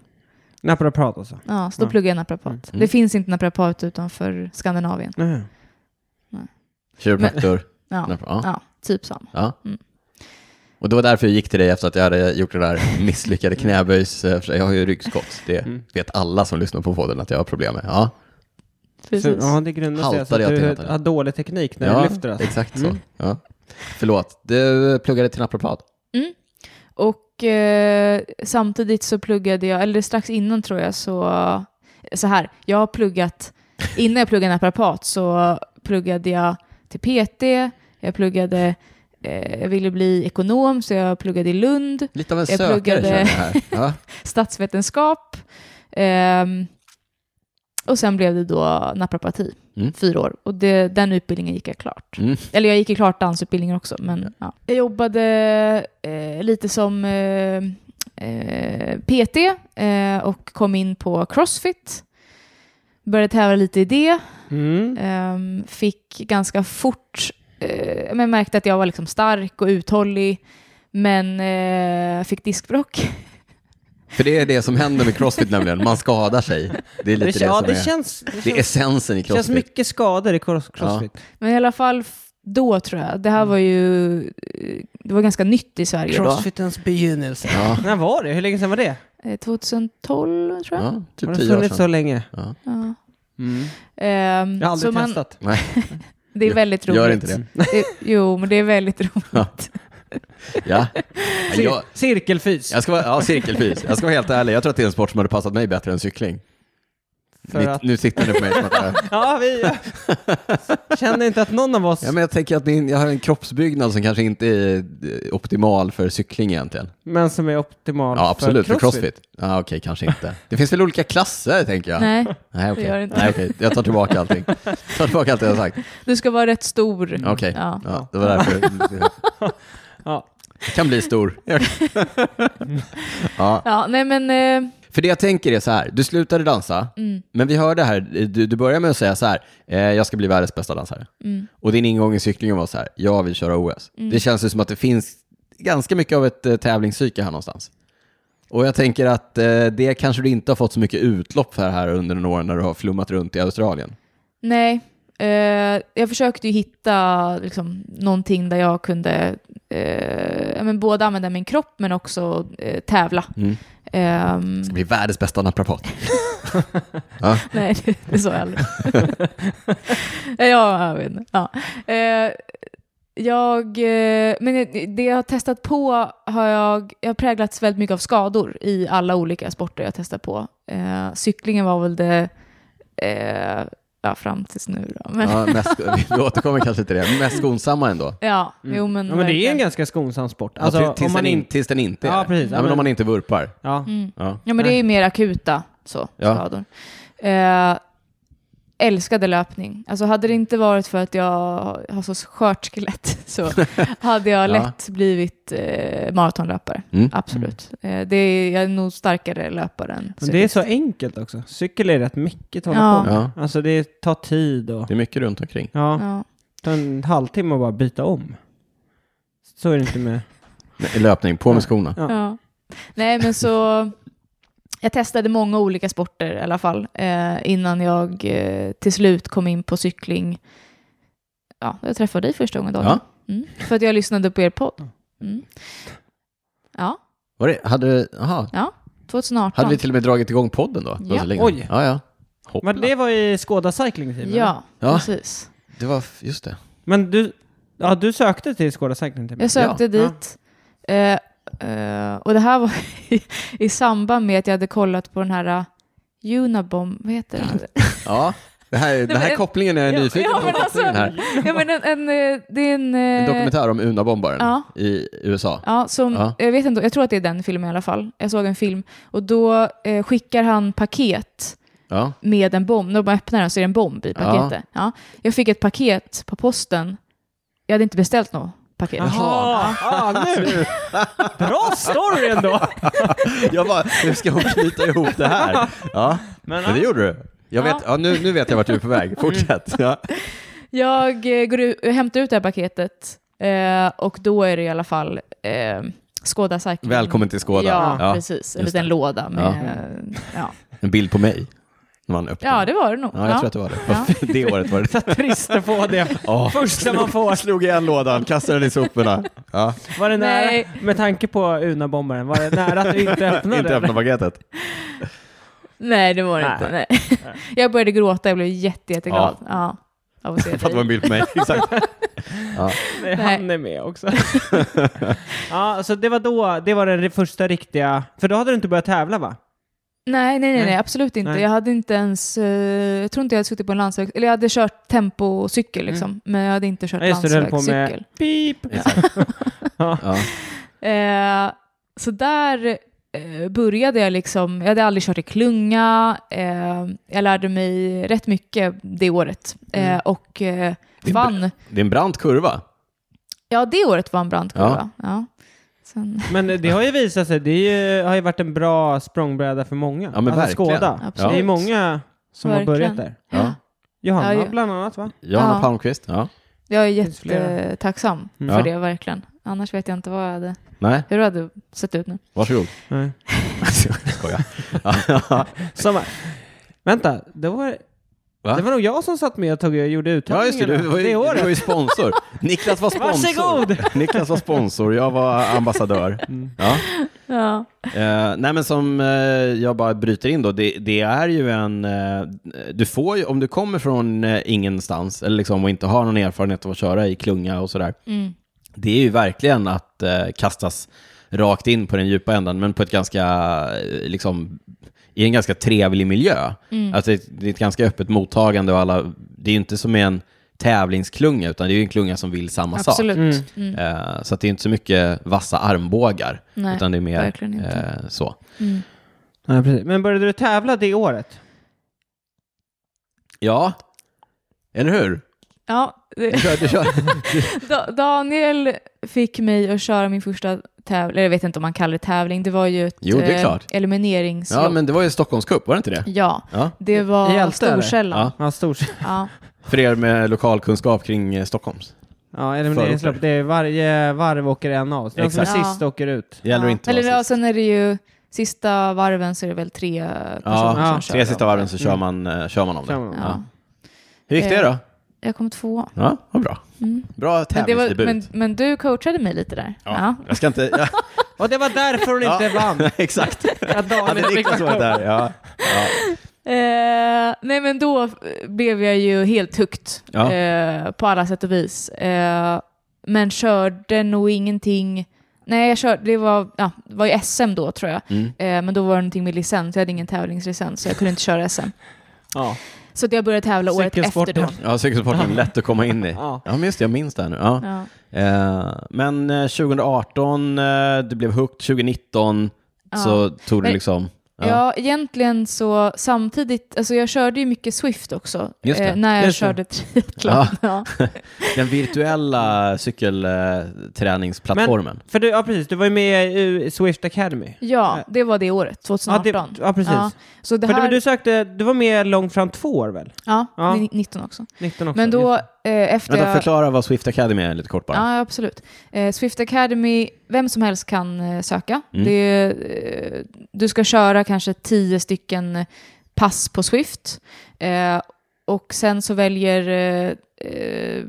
Naprapat alltså.
Ja, så då
Ja.
pluggade jag naprapat.
Mm.
Det finns inte naprapat utanför Skandinavien.
Nej.
Kiropraktor.
Ja,
Ja.
ja typ samma.
Ja. Och det var därför jag gick till dig efter att jag hade gjort den där misslyckade knäböjs... eh, för Jag har ju ryggskott. Det
Mm.
vet alla som lyssnar på podden att jag har problem med. Ja,
Så,
Precis.
ja, det grundar sig alltså
Haltade
att
jag till
du
natten.
har dålig teknik när
ja
du lyfter. Alltså.
exakt så.
Mm.
Ja. Förlåt, du pluggade till naprapat.
Och eh, samtidigt så pluggade jag, eller strax innan tror jag, så, så här, jag har pluggat, innan jag pluggade naprapat så pluggade jag till PT, jag pluggade, eh, jag ville bli ekonom så jag pluggade i Lund,
Lite av en
Jag
sökare
pluggade-
känner jag här. Ja.
statsvetenskap, ehm, och sen blev det då naprapati,
Mm.
fyra år. Och det, den utbildningen gick jag klart.
Mm.
Eller jag gick ju klart dansutbildningen också, men ja. Jag jobbade eh, lite som eh, eh, PT eh, och kom in på Crossfit. Började tävla lite i det.
Mm.
Ehm, fick ganska fort, eh, men märkte att jag var liksom stark och uthållig. Men eh, fick diskbråck.
För det är det som händer med crossfit nämligen, man skadar sig. Det är
Det,
lite det,
ja,
som
det,
är,
känns, det,
det är
känns,
essensen i
det känns
crossfit.
mycket skador i cross, crossfit.
Men i alla fall f- då tror jag. Det här
Mm.
var ju eh, det var ganska nytt i Sverige
Crossfitens begynnelse.
Ja.
Typ När var det? Hur länge sedan var det?
då. Eh, 2012 tror jag.
Ja,
Har
typ
det
tio år
funnits så
sedan.
länge?
Ja.
Ja.
Mm.
Ehm,
Jag har
så
aldrig
man-
testat.
Det är väldigt roligt.
Gör inte det.
Det- Jo, men det är väldigt roligt.
[laughs]
Ja.
Cir-
Jag,
Cirkelfys.
jag ska vara, ja, cirkelfys. Jag ska vara helt ärlig, jag tror att det är en sport som hade passat mig bättre än cykling.
För
Ni,
att-
Nu siktar ni på mig. som att jag-
[laughs] Ja, vi
[laughs]
känner inte att någon av oss...
Ja, men jag tänker att min, jag har en kroppsbyggnad som kanske inte är eh, optimal för cykling egentligen.
Men som är optimal
Ja, absolut.
för crossfit.
Ja, okej, kanske inte. Det finns väl olika klasser, tänker jag?
Nej,
Nej,
det gör det
okej.
inte.
Nej, okej. Jag tar tillbaka
[laughs]
allting. Jag tar tillbaka allt jag har sagt.
du ska vara rätt stor.
Okej.
Ja.
Ja, det var därför.
Ja.
Jag kan bli stor. ja.
Ja, nej men... Eh,
För det jag tänker är så här, du slutade dansa,
mm,
men vi hörde här, du, du började med att säga så här, eh, jag ska bli världens bästa dansare.
mm,
Och din ingång i cyklingen var så här, jag vill köra OS.
Mm.
Det känns ju som att det finns ganska mycket av ett eh, tävlingspsyke här någonstans. Och jag tänker att eh, det kanske du inte har fått så mycket utlopp för här under den åren när du har flummat runt i Australien.
nej. Eh, jag försökte ju hitta liksom, någonting där jag kunde eh, ja, men både använda min kropp men också eh, tävla.
Mm.
Ehm,
Det blir världens bästa naprapat.
Nej, det, det sa jag
[laughs]
aldrig. ja, jag vet inte. Ja. Eh, jag, eh, men det- det jag har testat på har jag, jag har präglats väldigt mycket av skador i alla olika sporter jag har testat på. Eh, cyklingen var väl det, eh, ja fram tills nu då. Men, ja,
Ja, mest, vi återkommer kanske till det, mest skonsamma ändå.
Mm.
jo men.
ja, men det är
verkligen.
en ganska skonsam sport.
Alltså,
Alltså,
tills,
om man
den in,
inte...
tills den inte är
Ja,
det.
precis.
Ja, men om man inte vurpar.
Ja.
Mm.
Ja.
Ja, men det är ju mer akuta så,
Ja.
skador. Eh, älskade löpning. Alltså hade det inte varit för att jag har så skört skelett [laughs] så hade
[laughs]
jag lätt blivit eh, maratonlöpare.
Mm.
Absolut. Eh, det är, jag är nog starkare löpare än
Men det är
cyklist.
så enkelt också. Cykel är rätt mycket att hålla
Ja.
på med.
Ja.
Alltså det tar tid och...
Det är mycket runt omkring.
Ja,
Ja.
ta en halvtimme och bara byta om. Så är det inte med...
Nej, Löpning, på med skorna.
Ja.
Ja. Nej, men så... Jag testade många olika sporter i alla fall eh, innan jag eh, till slut kom in på cykling. Ja, jag träffade dig första gången Daniel. Mm, för att jag lyssnade på er podd. Mm. Ja,
Var det, hade, aha,
2018.
hade vi till och med dragit igång podden då? Det var
Ja.
så länge.
Oj.
Ja, ja. Hoppla.
Men det var i Skåda Cycling Team? eller?
Ja,
Ja.
precis.
det var, f- just det.
Men du... Ja, du sökte till Skåda Cycling Team?
Jag sökte
Ja.
dit. Eh, eh, och det här var [laughs] i, i samband med att jag hade kollat på den här uh, Unabom, vad heter den?
Ja, det här, den
men
här
en-
kopplingen är jag
Ja,
nyfiken
ja,
på.
men alltså-
kopplingen här.
ja, men en, en, eh, det är en... eh,
En dokumentär om Unabombaren
Ja.
i USA.
Ja, som,
Ja.
Jag, vet inte, jag tror att det är den filmen i alla fall. Jag såg en film och då eh, skickar han paket
Ja.
med en bomb. När man öppnar den så är det en bomb i paketet. Ja. Jag fick ett paket på posten. Jag hade inte beställt något paket.
Jaha, ja, nu. [laughs] Bra story ändå!
Jag bara, hur ska hon knyta ihop det här? Ja, men, det gjorde du. Jag
Ja.
vet, ja, nu, nu vet jag vart du är på väg. Fortsätt. Ja.
Jag eh, går ut, jag hämtar ut det här paketet eh, och då är det i alla fall eh, Skåda Cycling.
Välkommen till Skåda.
Ja,
Ja,
precis. En
just
liten låda med... Ja.
En bild på mig. när man öppnade.
Ja, det var det nog.
Ja, jag tror att det var det.
Ja.
[laughs] det året var det.
[laughs] Så trist att få det
Ja.
första man får.
Slog igen lådan, kastade den i soporna. Ja.
Var det nära,
Nej.
med tanke på Una-bombaren, var det nära att du [laughs] inte öppnade
Inte
den?
öppna paketet.
Nej, det var det
Nej.
inte. Nej. [laughs] Jag började gråta, jag blev jätte, jätteglad. Ja. Ja. Av
[laughs]
att se
För att det var en
dig.
bild på [laughs] mig. Exakt.
Nej,
Nej.
han är med [laughs] också. ja, så det var då, det var den ri- första riktiga, för då hade du inte börjat tävla va?
Nej, nej, nej,
Nej.
nej, absolut inte.
Nej.
Jag hade inte ens, eh, jag tror inte jag hade suttit på en landsväg, eller jag hade kört tempocykel liksom, men jag hade inte kört
Mm. Ja, just det, du höll på med-
landsvägscykel.
Pip!
Ja.
Eh, så där eh, började jag liksom, jag hade aldrig kört i klunga, eh, jag lärde mig rätt mycket det året eh,
Mm.
och eh,
Det är
vann.
Det är en brant kurva.
Ja, det året var en brant kurva. Ja. Sen,
Men det har ju visat sig, det är ju, har ju varit en bra språngbräda för många.
Ja, men verkligen.
Skåda.
Absolut.
Det är många som
Verkligen.
har börjat där.
Ja.
Johanna
Ja, ju-
bland annat va?
Johanna
Ja.
Palmqvist. Ja.
jag är
finns flera.
jättetacksam
Mm.
för
Ja.
det, verkligen. Annars vet jag inte vad jag hade,
Nej,
hur det hade sett ut nu.
varsågod.
Nej.
Jag [laughs] skojar. Ja.
[laughs] Som, vänta, det var,
Va?
det var nog jag som satt med och tog och gjorde
Ja, just det.
uttagningarna
Du var ju,
det
du
året.
var ju sponsor. Niklas var sponsor.
Varsågod!
Niklas var sponsor, jag var ambassadör. Ja.
Ja.
Eh, nej men som eh, jag bara bryter in då, det, det är ju en, eh, du får ju, om du kommer från eh, ingenstans eller liksom och inte har någon erfarenhet av att köra i klunga och sådär,
Mm.
det är ju verkligen att eh, kastas rakt in på den djupa änden, men på ett ganska, eh, liksom, i en ganska trevlig miljö.
Mm.
Alltså, det, det är ett ganska öppet mottagande och alla, det är ju inte som en tävlingsklunga, utan det är ju en klunga som vill samma sak.
Absolut.
Mm.
Mm.
Eh, så att det är inte så mycket vassa armbågar,
Nej,
utan det är mer
verkligen inte.
eh, så.
Mm.
Ja, precis. Men började du tävla det året?
Ja, eller hur?
Ja,
Du [laughs]
det,
kör, du kör.
Da- Daniel fick mig att köra min första tävling, eller jag vet inte om man kallar det tävling, det var ju ett
Jo, det är
eh,
klart.
elimineringslopp.
Ja, men det var ju Stockholms Cup, var det inte det?
Ja,
Ja.
det var
I Älta, eller?
Storkällan.
Ja, stort.
Ja.
För er med lokalkunskap kring eh, Stockholms.
Ja, elimineringslopp. Det är varje varv åker en av. Så Den som är
Exakt.
sist
Ja.
åker ut.
Det gäller
ja.
att inte
Eller
vara
ja,
sist.
sen är det ju sista varven så är det väl tre personer
Ja,
som kör. Mm.
tre sista
då.
varven så kör man, eh, kör man om
Kör man
det.
om det.
Ja.
Hur gick det då?
Jag kom tvåa.
Ja, vad bra.
Mm.
Bra
Men, det var,
tävlingsdebut.
men, men du coachade mig lite där.
Ja. Jag ska inte... Ja,
Och det var därför hon inte
[laughs]
vann.
exakt.
Att Daniel
Hade Niklas varit där, ja.
Eh, nej men då eh, blev jag ju helt högt
Ja.
eh, på alla sätt och vis. Eh, men körde nog ingenting. Nej, jag körde, det var, ja, det var ju SM då tror jag.
Mm.
Eh, men då var det någonting med licens, jag hade ingen tävlingslicens så jag kunde inte köra SM.
Ja.
Så att jag började tävla året efter
Cykelsporten.
då.
Ja, cykelsporten, lätt att komma in i. Ja,
Ja.
men just det, jag minns det här nu. Ja.
Ja.
Eh, Men eh, 2018, eh, du blev hooked. 2019 så tog du
Men-
liksom...
Ja. egentligen så samtidigt, alltså jag körde ju mycket Swift också
Just det.
eh, när jag
Just det.
körde triathlon.
Ja.
Ja.
Den virtuella cykelträningsplattformen.
För du, ja precis, du var ju med i Swift Academy.
ja, det var det året,
Eh. Ja, det,
2018.
ja precis.
Ja. Så det
För
här,
du, du sökte, du var med långt fram två år väl?
ja,
Ja.
det är 19 också.
19 också.
Men då,
just
eh,
det.
efter...
Vänta,
jag-
förklara vad Swift Academy är lite kort bara.
Ja, absolut. Eh, Swift Academy, vem som helst kan eh, söka.
Mm.
Det är, eh, du ska köra kanske tio stycken pass på Swift. Eh, och sen så väljer... Eh, eh,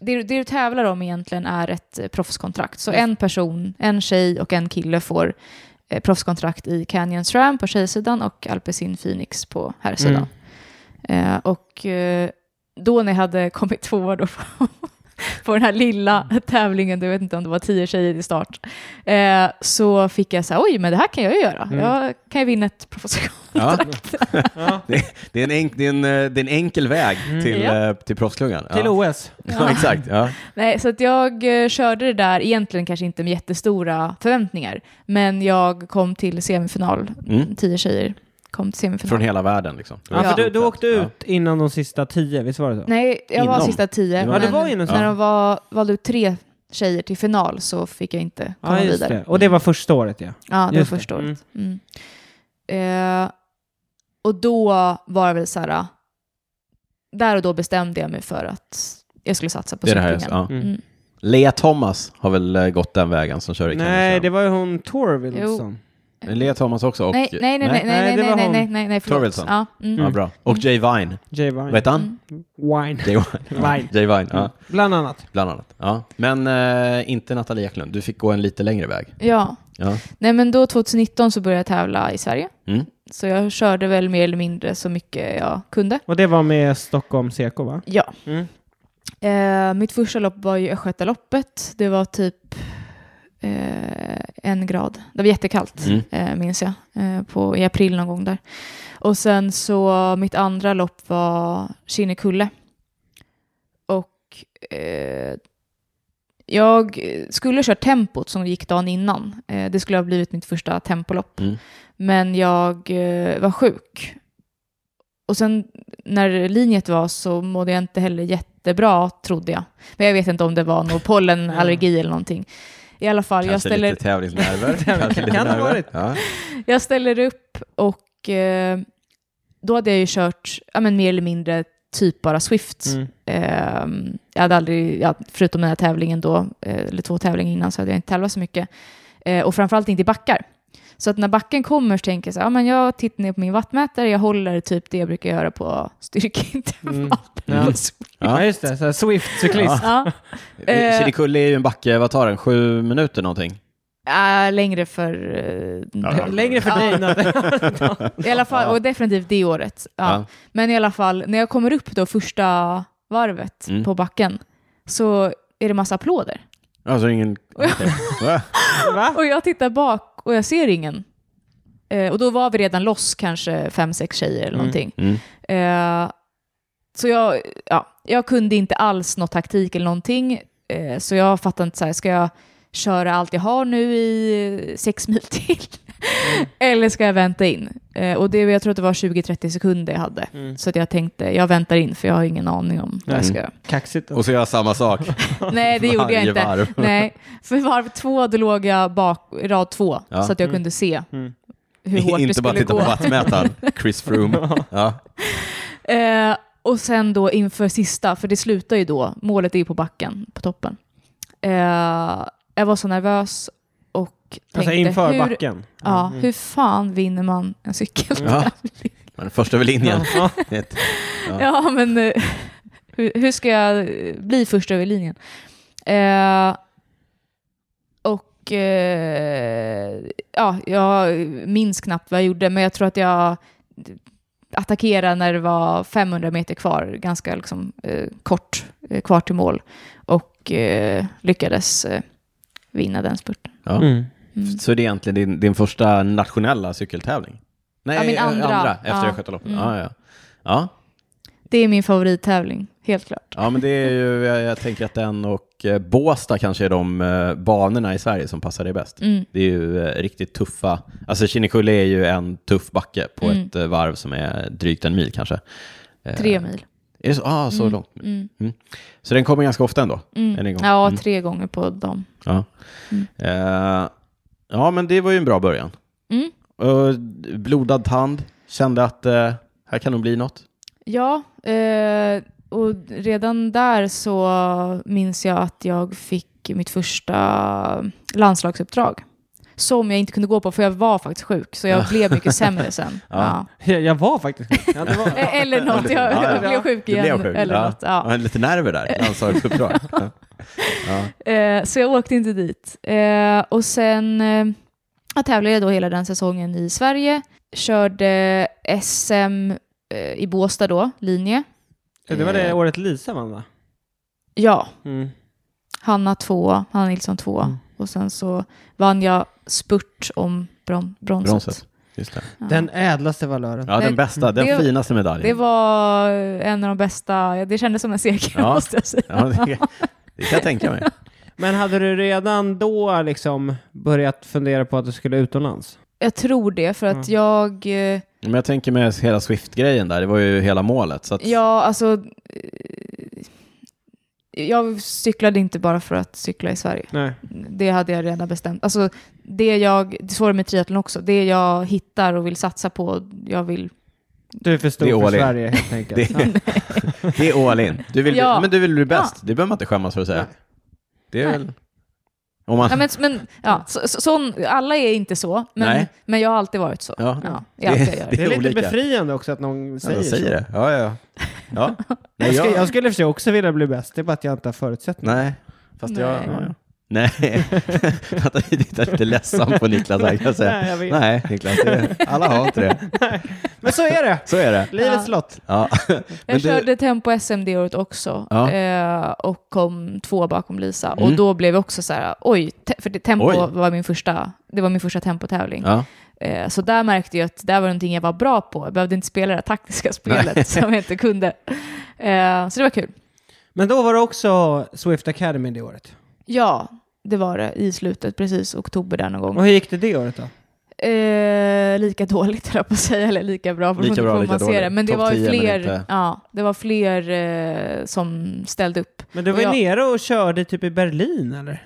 det, det du tävlar om egentligen är ett eh, proffskontrakt. Så
Just.
en person, en tjej och en kille får eh, proffskontrakt i Canyon Ram på tjejsidan och Alpecin Phoenix på herrsidan. Eh, och eh, då när jag hade kommit [laughs] tvåa då på, på den här lilla
Mm.
tävlingen, jag vet inte om det var tio tjejer i start, eh, så fick jag så här, oj, men det här kan jag ju göra.
Mm.
Jag kan ju vinna ett proffskontrakt.
Ja.
Ja.
Det, är en enk, det, är en, eh, det är en enkel väg
Mm.
till,
Ja.
eh, till proffsklungan.
Till
ja.
OS.
[laughs] ja, exakt. Ja.
[laughs] Nej, så att jag eh, körde det där, egentligen kanske inte med jättestora förväntningar, men jag kom till semifinal,
Mm.
tio tjejer kom till semifinal.
Från hela världen liksom.
Ja,
Ja.
för du, du åkte
Ja.
ut innan de sista tio, visst var det så?
Nej, jag var
Inom.
sista tio.
Ja,
men
det var inom.
när
Ja.
de var, valde ut tre tjejer till final så fick jag inte komma
Ja, just
vidare.
det. Och det var första året ja.
Ja, det var
Just det.
första året. Mm. Eh, och då var det väl så här, äh, där och då bestämde jag mig för att jag skulle satsa på
Det är det här.
cyklingen.
jag sa, Ja.
Mm.
Mm.
Lea Thomas har väl eh, gått den vägen som kör i Canyon
Nej,
Slam.
det var ju hon Torvilson.
Lea Thomas också och...
Nej, nej, nej, nej,
Nej,
nej,
det
nej,
var
nej,
hon.
nej, nej, nej, förlåt.
Torvaldson.
Ja, mm.
Ja, bra. Och Jay Vine.
Jay Vine.
Vad heter han?
Wine.
Jay Vine.
Mm. [laughs] Vine.
Jay Vine, ja.
Bland annat.
Bland annat. Ja. Men eh, inte Nathalie Eklund. Du fick gå en lite längre väg.
Ja,
Ja.
nej men då 2019 så började jag tävla i Sverige.
Mm.
Så jag körde väl mer eller mindre så mycket jag kunde.
Och det var med Stockholm CK va?
Ja.
Mm.
Eh, mitt första lopp var ju Östgötaloppet. Det var typ eh, en grad. Det var jättekallt,
Mm.
eh, minns jag, eh, på, i april någon gång där. Och sen så mitt andra lopp var Kinnekulle. Och eh, jag skulle köra tempot som gick dagen innan. Eh, det skulle ha blivit mitt första tempolopp.
Mm.
Men jag eh, var sjuk. Och sen när linjet var så mådde jag inte heller jättebra, trodde jag. Men jag vet inte om det var
[laughs]
någon pollenallergi eller någonting. I alla fall, jag
Kanske
ställer,
lite
[laughs]
tävlingsnerver. Kanske lite
Kan ha
nerver.
varit.
Ja.
jag ställer upp och eh, då hade jag ju kört ja, men mer eller mindre typ bara Swift.
Mm.
Eh, jag hade aldrig, ja, förutom den här tävlingen då, eh, eller två tävlingar innan, så hade jag inte tävlat så mycket. Eh, och framförallt inte i backar. Så att när backen kommer så tänker jag så här, ja, men jag tittar ner på min wattmätare, jag håller typ det jag brukar göra på styrkeintervall.
Mm.
Mm.
Ja.
Ja.
ja just det, så här
[laughs]
Swift-cyklist.
Ja. Eh.
Kinnekulle är ju en backe, vad tar den? Sju minuter någonting?
Äh, längre för... eh,
Ja.
Längre för dig.
[laughs]
Natte.
I alla fall, och definitivt det året. Ja.
Ja.
Men i alla fall, när jag kommer upp då första varvet
Mm.
på backen så är det massa applåder.
Alltså ingen... Okej. Va?
va?
Och jag tittar bak och jag ser ingen. Eh, och då var vi redan loss kanske fem, sex tjejer eller
Mm.
någonting.
Mm.
Eh, så jag, ja, jag kunde inte alls någon taktik eller någonting. Eh, så jag fattade inte så här, ska jag köra allt jag har nu i eh, sex mil till?
Mm.
[laughs] eller ska jag vänta in? Eh, och det, jag tror att det var 20-30 sekunder jag hade.
Mm.
Så att jag tänkte, jag väntar in för jag har ingen aning om vad jag ska
Nej. [laughs]
göra.
Kaxigt.
Och så gör jag samma sak.
Nej, det gjorde jag
Mm. Varje varv.
inte. [laughs] Nej, för varv två då låg jag bak, i rad två,
Ja.
så att jag
Mm.
kunde se
Mm.
hur hårt det
inte bara
skulle
titta
gå.
på wattmätaren. Chris Froome. Ja.
Eh, och sen då inför sista, för det slutar ju då, målet är ju på backen, på toppen. Eh, jag var så nervös och tänkte,
Alltså inför
hur,
backen.
Ja,
Mm.
hur fan vinner man en cykel? Ja,
Ja. Men först över linjen.
[laughs] Ja.
Ett-
men eh, [laughs] hur, hur ska jag eh, bli först över linjen? Eh, och eh, ja, jag minns knappt vad jag gjorde, men jag tror att jag attackerade när det var 500 meter kvar, ganska liksom, eh, kort eh, kvar till mål, och eh, lyckades eh, vinna den spurten.
Ja.
Mm.
Mm.
Så det är egentligen din, din första nationella cykeltävling? Nej,
Ja, min
eh,
andra.
efter
Ja.
Östgötaloppet.
Mm.
Ja, ja. Ja.
Det är min favorittävling, helt klart.
ja, men det är ju, jag, jag tänker att den och eh, Båstad kanske är de eh, banorna i Sverige som passar dig bäst.
Mm.
Det är ju eh, riktigt tuffa, alltså Kinnekulle är ju en tuff backe på
Mm.
ett eh, varv som är drygt en mil kanske. Eh,
Tre mil.
Är det så? Ah, så
Mm.
långt.
Mm.
Så den kommer ganska ofta ändå?
Mm.
Än en gång.
Ja,
Mm.
tre gånger på dem.
Ja.
Mm.
Eh, ja, men det var ju en bra början.
Mm.
Eh, blodad tand, kände att eh, här kan nog bli något.
Ja, eh, och redan där så minns jag att jag fick mitt första landslagsuppdrag. Som jag inte kunde gå på för jag var faktiskt sjuk, så jag blev
[laughs]
mycket sämre sen.
Ja.
Ja.
Jag jag var faktiskt ja, det var. [laughs]
Eh,
[laughs]
Eller något, jag
Ja, ja.
blev sjuk
Du
igen.
blev sjuk?
Eller
ja.
något, ja.
Ja, Lite nerver
[laughs]
där, landslagsuppdrag. ja. Ja.
Eh, så jag åkte inte dit. Eh, och sen eh, jag tävlade jag då hela den säsongen i Sverige. Körde SM eh, i Båstad då, linje.
Det var
Eh.
det året Lisa vann va?
Ja,
Mm.
Hanna två, Hanna Nilsson två.
Mm.
Och sen så vann jag spurt om bron- bronset.
Bronset. Just det.
Ja.
Den ädlaste valören.
Ja,
Nej,
den bästa, den
det-
finaste medaljen.
det var en av de bästa, det kändes som en seger
Ja.
måste jag säga.
ja, det, det kan jag tänka mig.
Men hade du redan då liksom börjat fundera på att du skulle utomlands?
Jag tror det, för att jag, eh,
Men jag tänker med hela Swift-grejen där, det var ju hela målet. Så att,
jag alltså, eh, jag cyklade inte bara för att cykla i Sverige.
Nej.
Det hade jag redan bestämt. Alltså, det jag, det svåra med triathlon också, det jag hittar och vill satsa på, jag
[laughs]
vill
Du är för stor
Det är
för
all in.
Sverige helt enkelt.
[laughs] Det-
Ja.
det är all in. Du vill, bli-
Ja.
Men du vill bli bäst, det behöver man inte skämmas för att säga.
Nej.
Det är
Nej.
väl... Om man,
Ja, men, men, ja, så, så, sån, alla är inte så, men,
Nej.
men jag har alltid varit så.
Ja.
Ja, det är allt jag gör.
Det
Det
är
är lite
olika.
befriande också att någon
Ja,
säger,
de säger det. Ja, ja, ja. ja. Nej, [laughs]
Jag,
jag,
skulle, jag skulle i och för sig också vilja bli bäst, det är bara att jag inte har förutsättningar.
nej, fast jag...
Nej.
Ja, ja. Nej, [laughs] vänta, jag tittar lite ledsam på Niklas här kan jag säga.
Nej, jag vet.
Nej, Niklas, det, alla har inte det.
Men så är [laughs] det!
Så är det.
Livets
Ja.
lott.
Ja.
Jag
[laughs] Men du-
körde tempo SM det året också
Ja.
eh, och kom två bakom Lisa.
Mm.
Och då blev jag också så här, oj, te- för det, tempo
Oj.
var min första, det var min första tempotävling.
Ja.
Eh, så där märkte jag att det här var någonting jag var bra på. Jag behövde inte spela det här taktiska spelet
[laughs]
som jag inte kunde. Eh, så det var kul.
Men då var det också Swift Academy det året.
Ja, det var det i slutet, precis oktober där någon gång.
Och hur gick det det året då?
Eh, lika dåligt höll jag på att säga, eller lika bra får
Lika
man-
bra,
får
lika
man se
dåligt.
det. Men det
Topp
var
10,
ju
men
fler,
inte-
ja, det var fler eh, som ställde upp.
Men du var ju
Jag-
nere och körde typ i Berlin eller?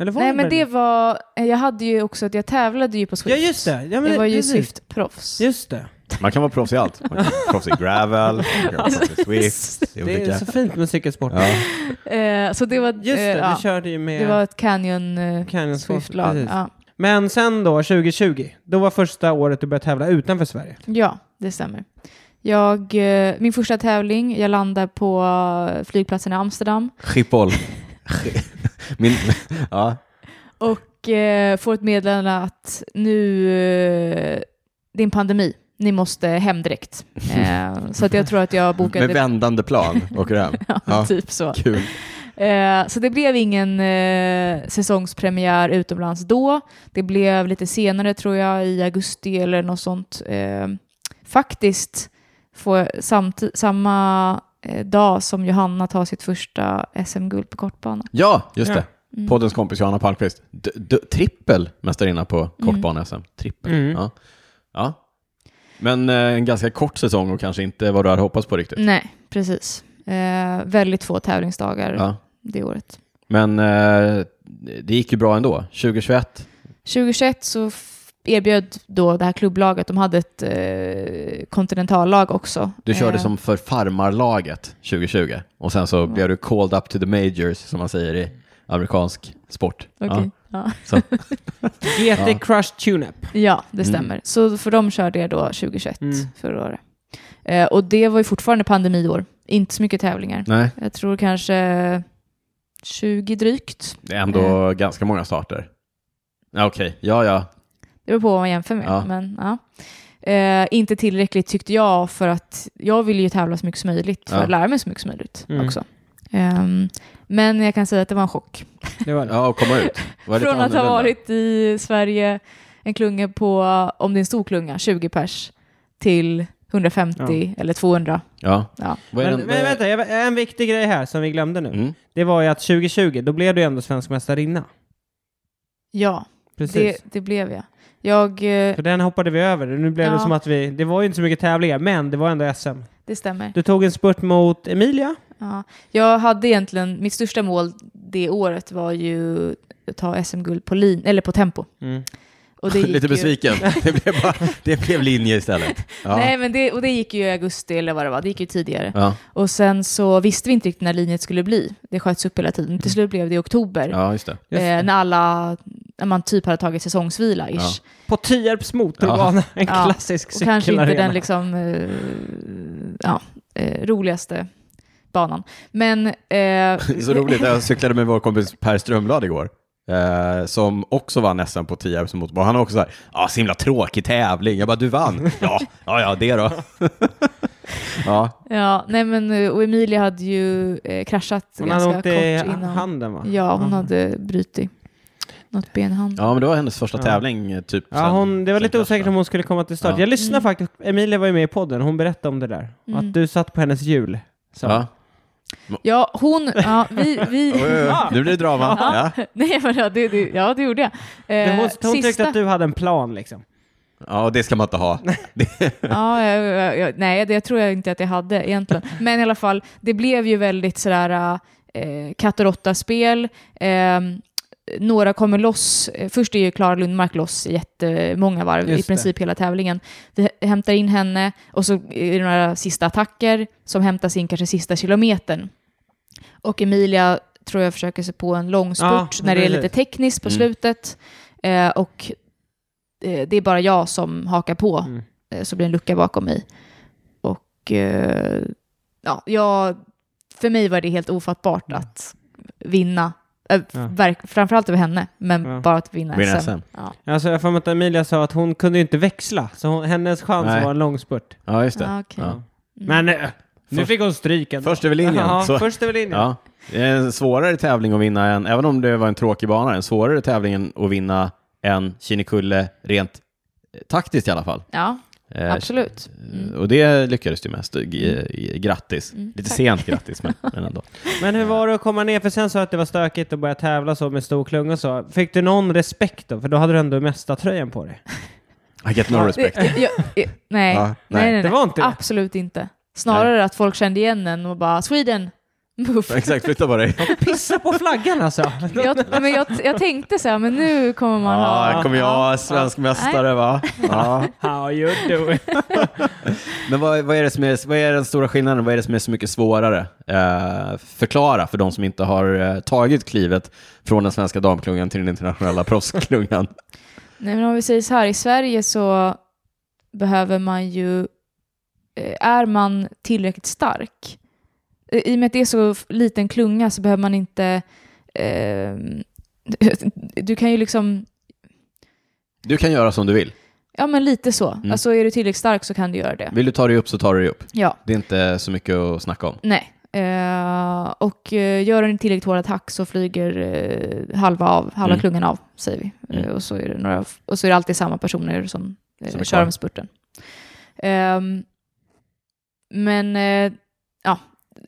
Eller var
Nej
i
men det
Berlin?
var, eh, jag hade ju också att jag tävlade ju på Swift.
Ja just det! Ja, men
jag var ju
precis.
Swift-proffs.
Just det.
Man kan vara proffs i allt. Man kan vara proffs i gravel, man kan vara
Alltså,
proffs i Swift, i
Det är
olika...
så fint med cykelsport.
Ja.
Eh, så det var,
Just det,
eh,
du
ja,
körde ju med...
det var ett Canyon, eh,
Canyon Sport,
Swift-lag.
precis.
Ja.
Men sen då, 2020, då var första året du började tävla utanför Sverige.
ja, det stämmer. Jag, eh, min första tävling, jag landar på eh, flygplatsen i Amsterdam
Schiphol. [laughs] Min... Ja.
och eh, får ett meddelande att nu, eh, det är en pandemi, ni måste hem
[laughs]
direkt. Eh, så att jag tror att jag bokade...
Med vändande plan åker du hem. Ja.
[laughs] ja, typ så.
Kul.
Eh, så det blev ingen eh, säsongspremiär utomlands då. Det blev lite senare tror jag, i augusti eller något sånt. Eh, faktiskt, får samt- samma eh, dag som Johanna tar sitt första SM-guld på kortbana. Mm.
Ja, just
Ja.
det. Poddens kompis Johanna Palmqvist. D- d- trippel mästarinna på kortbane-SM. Trippel.
Mm.
Ja. ja. Men eh, en ganska kort säsong och kanske inte vad du hade hoppats på riktigt.
Nej, precis. Eh, väldigt få tävlingsdagar
Ja.
det året.
Men eh, det gick ju bra ändå. 2021.
2021 så f- erbjöd då det här klubblaget, de hade ett eh, kontinentallag också.
Du körde
Eh,
som för farmarlaget 2020 och sen så blev du called up to the majors som man säger i amerikansk sport.
okej. Ja.
GT Crush Tuneup.
Ja, det
Mm.
stämmer. Så för dem körde jag då 2021,
Mm.
förra året. Eh, och det var ju fortfarande pandemiår, inte så mycket tävlingar.
Nej,
Jag tror kanske 20 drygt.
det är ändå ganska många starter. Ja, Okej, ja ja.
Det beror på vad man jämför med.
Ja.
Men, ja. Eh, inte tillräckligt tyckte jag för att jag ville ju tävla så mycket som möjligt för
Ja.
att lära mig så mycket som möjligt
Mm.
också. Ehm, men jag kan säga att det var en chock.
Det var det.
[laughs] Ja, och komma ut. Var det lite
Från att ha
annorlunda?
varit i Sverige en klunga på, om det är en stor klunga, 20 pers, till 150 eller 200.
Ja.
Ja.
Vad är
Men,
den-
men vänta, jag- en viktig grej här som vi glömde nu.
Mm.
Det var ju att 2020, då blev du ändå svensk mästarinna.
Ja,
Precis.
det, det blev jag. Jag, eh,
För den hoppade vi över. Nu blev det
Ja.
som att vi... Det var ju inte så mycket tävlingar, men det var ändå SM.
det stämmer.
Du tog en spurt mot Emilia.
Ja. Jag hade egentligen, mitt största mål det året var ju att ta SM-guld på, lin, eller på tempo.
Mm.
Och det
[laughs]
gick
Lite
ju-
[laughs]
besviken. Det blev, bara, det blev linje istället. Ja.
Nej, men det, och det gick ju i augusti eller vad det var, det gick ju tidigare.
Ja.
Och sen så visste vi inte riktigt när linjet skulle bli. Det sköts upp hela tiden. Till slut blev det i oktober,
Mm. ja, just det.
Just
eh,
det.
när alla, när man typ hade tagit säsongsvila ish.
Ja.
På Tierps motorbana. En
Ja.
klassisk
Och kanske inte
cykelarena.
den liksom, eh, ja, eh, roligaste banan. Men... Eh,
[laughs] Så roligt, jag cyklade med vår kompis Per Strömblad igår. Eh, som också vann SM på Tierps motorbana. Han var också så här, ja, ah, så himla tråkig tävling. Jag bara, du
[laughs]
vann. Ja, ja, ja det då. [laughs] ja,
Ja, nej men eh, och Emilia hade ju eh, kraschat
Hon hade
ganska
ont i
kort innan.
handen va?
Ja, hon
Ja.
hade brutit något ben i handen.
ja, men det var hennes första
Ja.
tävling eh, typ.
Ja, hon, det var
sen
lite
kraschen.
osäkert om hon skulle komma till start.
Ja.
Jag lyssnade
Mm.
faktiskt, Emilia var ju med i podden, hon berättade om det där.
Mm.
Att du satt på hennes hjul. Så.
Ja.
Ja, hon, ja, vi,
Oj,
vi,
oj, oj. Nu blir det drama. Ja.
Ja. [laughs] nej men ja, det, det, ja, det gjorde jag.
Det-
Eh,
hon hon tyckte
sista,
att du hade en plan liksom.
ja, och det ska man inte ha.
[laughs] ja, jag, jag, jag, nej det tror jag inte att jag hade egentligen. Men i alla fall, det blev ju väldigt sådär eh, katt och råtta-spel. Eh, några kommer loss. Eh, Först är ju Klara Lundmark loss i jättemånga varv,
Just
i princip hela tävlingen. Vi hä- hämtar in henne och så är det några sista attacker som hämtas in kanske sista kilometern. Och Emilia tror jag försöker sig på en långspurt
Ja,
när det är
precis.
lite tekniskt på
Mm.
slutet. Eh, och eh, det är bara jag som hakar på,
Mm.
eh, så blir det en lucka bakom mig. Och eh, ja, jag, för mig var det helt ofattbart
Mm.
att vinna. Äh,
Ja.
verk, framförallt över henne, men
Ja.
bara att vinna
Vinna
SM.
SM.
Ja.
Alltså, jag har för mig att Emilia sa att hon kunde ju inte växla, så hon, hennes chans
Nej.
var en långspurt.
Ja, just det.
Ja, Ah, okej.
Ja.
Mm.
Men eh, nu
Först-
fick hon stryk ändå.
först över linjen,
Ja,
så-
först över linjen.
Ja. Det är en svårare tävling att vinna än, även om det var en tråkig bana, en svårare tävling än att vinna än Kinnekulle rent eh, taktiskt i alla fall.
ja,
Eh,
absolut.
eh, Och det lyckades du mest. G- eh, Grattis.
Mm,
Lite
tack.
sent grattis, men, men ändå.
Men hur var det att komma ner? För sen sa jag att det var stökigt att börja tävla så med stor klunga och så. Fick du någon respekt då? För då hade du ändå mesta tröjan på dig. [laughs]
I get no respect.
Det- det- eh, jag- jag-
[laughs]
nej.
Ja,
nej, nej, nej.
Det var inte det.
Absolut inte. Snarare att folk kände igen en och bara “Sweden, muff”.
[laughs] Exakt, flytta på dig.
Pissa på flaggan alltså!
Jag, men jag, jag tänkte så här, men nu kommer man
Ja,
ha...
kommer jag, svensk mästare va? Ja.
How you
[laughs]
doing?
Men vad, vad, är det som är, vad är den stora skillnaden? Vad är det som är så mycket svårare? Eh, förklara för de som inte har eh, tagit klivet från den svenska damklungan till den internationella proffsklungan.
Nej, men om vi säger så här, i Sverige så behöver man ju... eh, Är man tillräckligt stark? Eh, I och med att det är så f- liten klunga så behöver man inte... Eh, [laughs] du kan ju liksom...
Du kan göra som du vill.
Ja, men lite så.
Mm.
Alltså är du tillräckligt stark så kan du göra det.
Vill du ta dig upp så tar du dig upp.
Ja.
Det är inte så mycket att snacka om.
Nej. Eh, och eh, gör den en tillräckligt hård attack så flyger eh, halva, av, halva
Mm.
klungan av, säger vi.
Mm.
Eh, och, så är det några, och så är det alltid samma personer som, eh,
Som är kvar.
kör om spurten. Ehm, men eh, ja,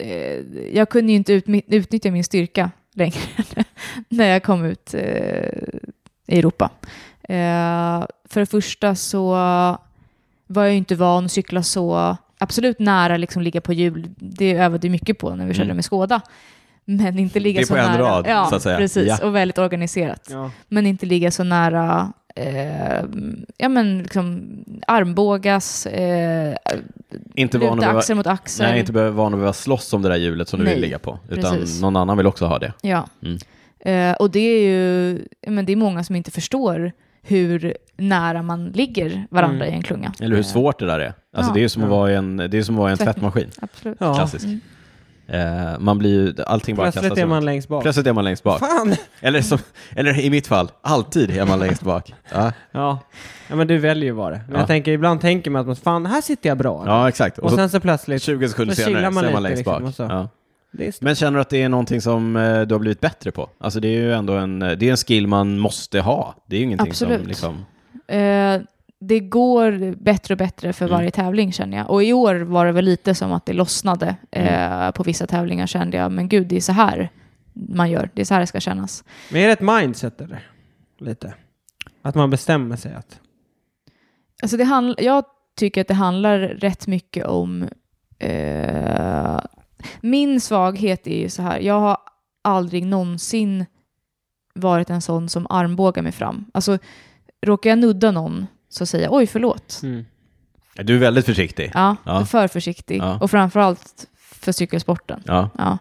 eh, jag kunde ju inte utmi- utnyttja min styrka längre [laughs] när jag kom ut eh, i Europa. Eh, för det första så var jag ju inte van att cykla så absolut nära, liksom ligga på hjul. Det övade jag mycket på när vi körde
Mm.
med Skoda. Men inte ligga
Det är
så
på en
nära.
rad,
ja,
så att säga.
Precis,
Ja.
och väldigt organiserat.
Ja.
Men inte ligga så nära eh, ja, men liksom armbågas, eh,
Inte van att
luta
behöva,
axel mot axel.
nej, inte behöva, van att behöva slåss om det där hjulet som du
Nej,
vill ligga på. Utan
precis.
någon annan vill också ha det.
Ja.
Mm.
Eh, och det är ju ja, men det är många som inte förstår hur nära man ligger varandra
Mm.
i en klunga.
Eller hur svårt det där är. Alltså,
Ja.
det är ju som att
Ja.
vara i en, det är som att vara i en
Tvätt-
tvättmaskin.
Absolut.
Ja.
Klassiskt.
Mm.
Eh, man blir ju, allting bara
Plötsligt
kastas
är
runt.
man längst bak.
Plötsligt är man längst bak.
Fan!
Eller, som, eller i mitt fall, alltid är man längst
[laughs]
bak. Ja,
Ja. ja, men du väljer ju bara. Men
Ja.
jag tänker, ibland tänker man att man, fan, här sitter jag bra.
ja exakt. Och,
och
så
sen så plötsligt,
20 sekunder
så chillar
senare
man
så är man
lite
längst
liksom
bak.
och så.
Ja.
det är st-
Men känner du att det är någonting som eh, du har blivit bättre på? Alltså det är ju ändå en, eh, det är en skill man måste ha. Det är ju ingenting som
Absolut.
liksom...
Eh, det går bättre och bättre för
Mm.
varje tävling känner jag. Och i år var det väl lite som att det lossnade. Eh, på vissa tävlingar kände jag, men gud, det är så här man gör. Det är så här det ska kännas.
Men är det ett mindset eller? Lite. Att man bestämmer sig att...
Alltså det handl- jag tycker att det handlar rätt mycket om... Eh, min svaghet är ju så här, jag har aldrig någonsin varit en sån som armbågar mig fram. Alltså, råkar jag nudda någon så säger jag oj, förlåt.
Mm. Ja, Du är väldigt försiktig.
Ja,
Ja.
för försiktig.
Ja.
Och framförallt för cykelsporten.
Ja.
Ja.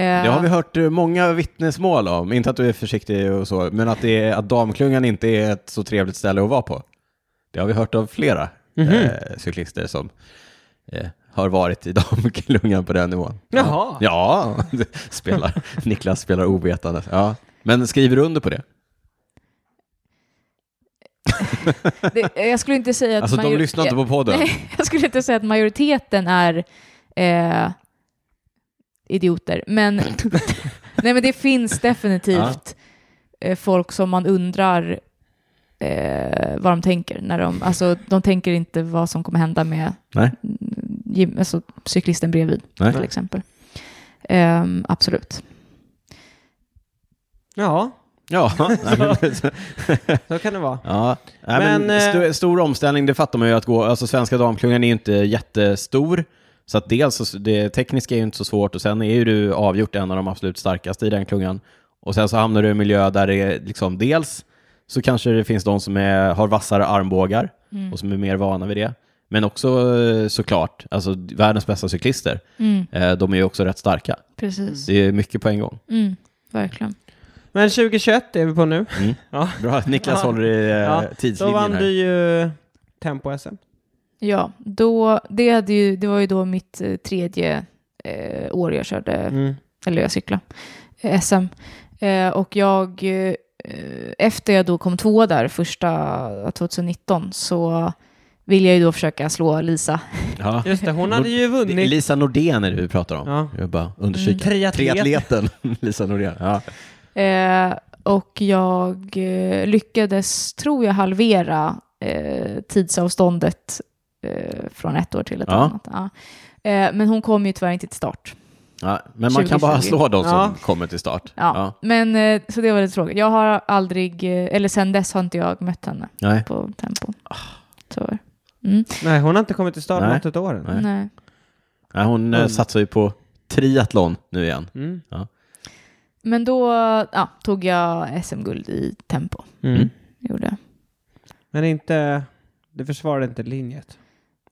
Eh,
Det har vi hört eh, många vittnesmål om. Inte att du är försiktig och så, men att, det är, att damklungan inte är ett så trevligt ställe att vara på. Det har vi hört av flera
Mhm.
eh, cyklister som eh, har varit i [laughs] damklungan på den nivån.
Jaha.
Ja, spelar, Niklas spelar ovetande. Ja. Men skriver du under på det?
det, jag skulle inte säga att...
Alltså de
major-
lyssnar inte på podden.
Nej, [laughs] jag skulle inte säga att majoriteten är eh, idioter,
[laughs]
men, nej, men det finns definitivt eh, folk som man undrar eh, vad de tänker. När de, alltså, de tänker inte vad som kommer hända med
Nej.
gym, alltså, cyklisten bredvid
Nej.
till exempel. Ehm, absolut.
Ja,
Ja, [laughs] nej, men-
så kan det vara.
ja. Nej, men,
Men, eh,
sto- stor omställning, det fattar man ju att gå. Alltså svenska damklungan är ju inte jättestor. Så att dels, så- det tekniska är ju inte så svårt och sen är ju du avgjort en av de absolut starkaste i den klungan. Och sen så hamnar du i en miljö där det är liksom
Mm.
dels så kanske det finns de som är, har vassare armbågar och som är mer vana vid det. Men också eh, såklart, alltså världens bästa cyklister,
Mm,
eh, de är ju också rätt starka.
precis.
Det är mycket på en gång.
Mm, verkligen.
Men 2021 är vi på nu.
Mm.
[laughs] Ja.
Bra att Niklas
Ja.
håller i eh,
Ja, Då
tidslinjen
vann
här.
du ju Tempo-SM.
Ja, då, det, hade ju, det var ju då mitt eh, tredje eh, år jag körde,
Mm.
eller jag cyklade, eh, SM. Eh, och jag, eh, efter jag då kom tvåa där första 2019 så vill jag ju då försöka slå Lisa.
Ja.
Just det, hon hade ju
Det är
vunnit.
Lisa Nordén är det vi pratar om.
Ja. Mm,
Jag bara understryker.
Triatlet.
Triatleten [laughs] Lisa Nordén. Ja.
Eh, och jag eh, lyckades, tror jag, halvera eh, tidsavståndet eh, från ett år till ett
Ja.
annat. Ja. Eh, men hon kom ju tyvärr inte till start.
Ja. Men man kan bara
2020.
slå de som
Ja.
kommer till start.
Ja. Men, eh, så det var lite tråkigt. Jag har aldrig, eh, eller sen dess har inte jag mött henne
Nej.
på Tempo. Så var det. mm.
Nej, hon har inte kommit till start
Nej.
något ett år än.
Nej.
Nej.
Nej, hon eh,
Mm.
satsar ju på triathlon nu igen.
Mm.
Men då ja, tog jag SM-guld i Tempo.
Mm.
Gjorde. jag.
Men inte... Det försvarade inte linjet.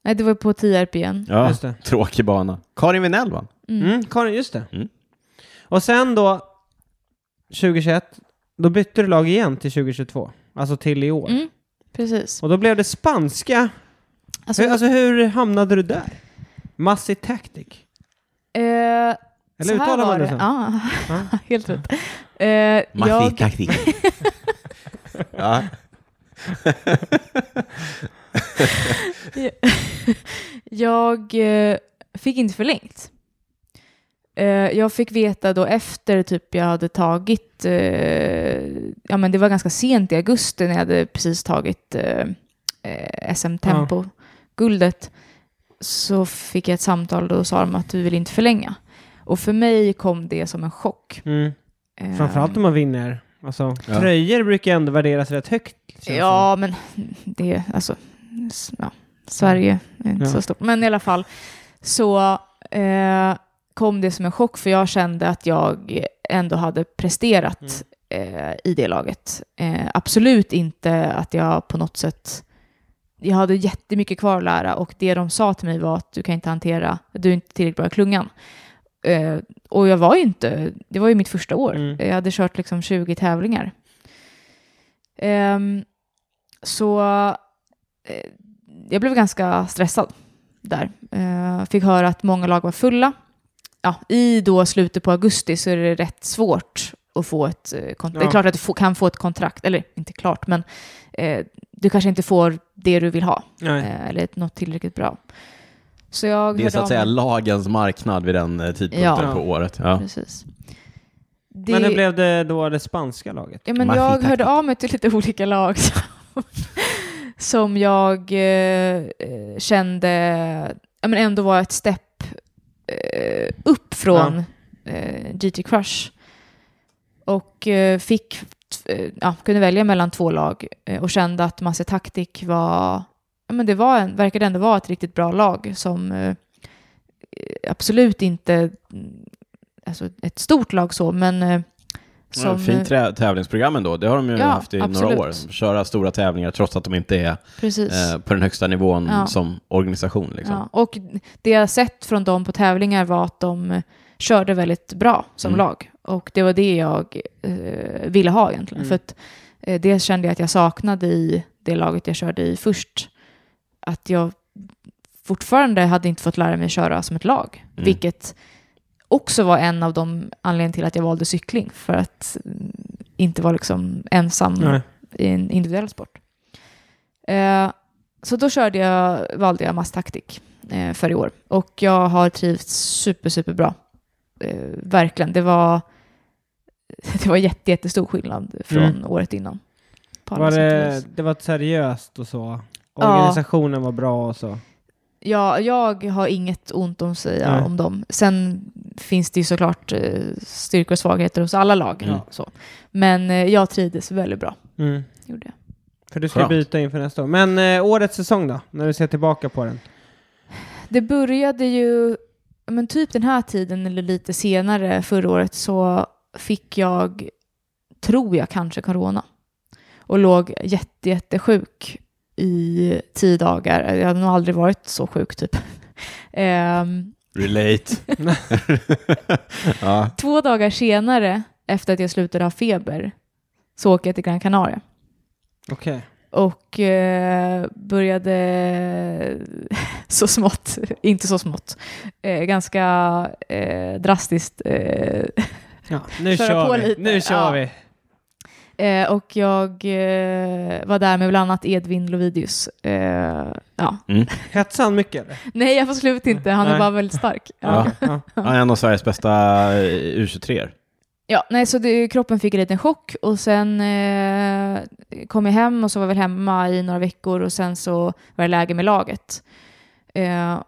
Nej, det var på Tierp igen.
Ja.
Just det.
Tråkig bana. Karin Vinell vann.
Mm.
Mm, Karin, just det.
Mm.
Och sen då, 2021, då bytte du lag igen till 2022. Alltså till i år.
Mm. Precis.
Och då blev det spanska.
Alltså,
hur, alltså hur hamnade du där? Massi Tactic?
eh,
Eller uttalar man det så?
Ja, [laughs]
Ja.
helt rätt. Eh, jag, [laughs]
taktik. ja.
jag eh, fick inte förlängt. Eh, jag fick veta då efter typ jag hade tagit, eh, ja men det var ganska sent i augusti när jag hade precis tagit eh, eh, SM Tempo, guldet, så fick jag ett samtal då och sa de att du vill inte förlänga. Och för mig kom det som en chock.
Mm.
Eh,
Framförallt om man vinner. Alltså,
Ja.
Tröjor brukar ju ändå värderas rätt högt. känns det
Ja, men det är alltså, s- ja, Sverige är inte
Ja.
så stort. Men i alla fall så eh, kom det som en chock för jag kände att jag ändå hade presterat eh, i det laget. Eh, absolut inte att jag på något sätt jag hade jättemycket kvar att lära och det de sa till mig var att du kan inte hantera, du är inte tillräckligt bra i klungan. Eh, och jag var ju inte, det var ju mitt första år.
Mm.
Jag hade kört liksom 20 tävlingar. Ehm, så eh, jag blev ganska stressad där. Eh, fick höra att många lag var fulla. Ja, I då slutet på augusti så är det rätt svårt att få ett kontrakt. Det
Ja.
är klart att du få, kan få ett kontrakt, eller inte klart, men eh, du kanske inte får det du vill ha.
som. Nej.
Eh, eller något tillräckligt bra. Så jag
Det är
hörde
så att
av
säga
mig-
lagens marknad vid den eh, tidpunkten
Ja.
på året. Ja.
Precis.
Men hur blev det då det spanska laget?
Ja, men
Maffi
jag
taktik.
hörde av mig till lite olika lag [laughs] som, som jag eh, eh, kände ja, men ändå var ett stepp eh, upp från eh, GT Crush. Och eh, fick, eh, ja, kunde välja mellan två lag eh, och kände att Masse Taktik var, ja, men det var en, verkade ändå vara ett riktigt bra lag som eh, absolut inte, mm, alltså ett stort lag så, men eh,
Ja, fint trä- tävlingsprogram ändå. Det har de ju
Ja,
haft i några
absolut.
år. Köra stora tävlingar trots att de inte är
Precis.
eh, på den högsta nivån
Ja.
som organisation. Liksom.
Ja. Och det jag sett från dem på tävlingar var att de eh, körde väldigt bra som
Mm.
lag. Och det var det jag eh, ville ha egentligen.
Mm.
För att eh, det kände jag att jag saknade i det laget jag körde i först. Att jag fortfarande hade inte fått lära mig köra som ett lag.
Mm.
Vilket också var en av de anledningarna till att jag valde cykling. För att mm, inte vara liksom ensam
Nej.
i en individuell sport. Eh, så då körde jag, valde jag masstaktik eh, för i år. Och jag har trivts super, super bra. Eh, verkligen. Det var, [laughs] det var jätte, jättestor skillnad från
Mm.
året innan. På alla
Var
sätt och
det,
vis.
det var seriöst och så?
Ja.
Organisationen var bra och så?
Ja, jag har inget ont om att säga
Nej.
om dem. Sen finns det ju såklart eh, styrkor och svagheter hos alla lag.
Ja.
Så. Men eh, jag trivdes väldigt bra.
Mm.
Gjorde jag.
För du ska
Skönt.
byta inför nästa år. Men eh, årets säsong då? När du ser tillbaka på den?
Det började ju, men typ den här tiden eller lite senare förra året så fick jag, tror jag kanske, corona. Och låg jätte, jättesjuk i tio dagar. Jag hade nog aldrig varit så sjuk typ. [laughs] Ehm,
Relate. [laughs] ja.
Två dagar senare, efter att jag slutade ha feber, så åker jag till Gran Canaria
Okej.
och eh, började [laughs] så smått, inte så smått, eh, ganska eh, drastiskt. Eh,
Ja, nu
Köra
kör
på
vi.
lite,
Nu kör
ja.
vi.
eh, och jag eh, var där med bland annat Edvin Lovidius. Eh, ja.
Hetsade han mycket eller?
Nej, jag får slut inte, han
Nej.
är bara väldigt stark.
Ja.
Ja.
Han är en av Sveriges bästa eh, u 23
Ja, nej, så det, kroppen fick en liten chock och sen eh, kom jag hem och så var jag väl hemma i några veckor och sen så var det läge med laget. Eh,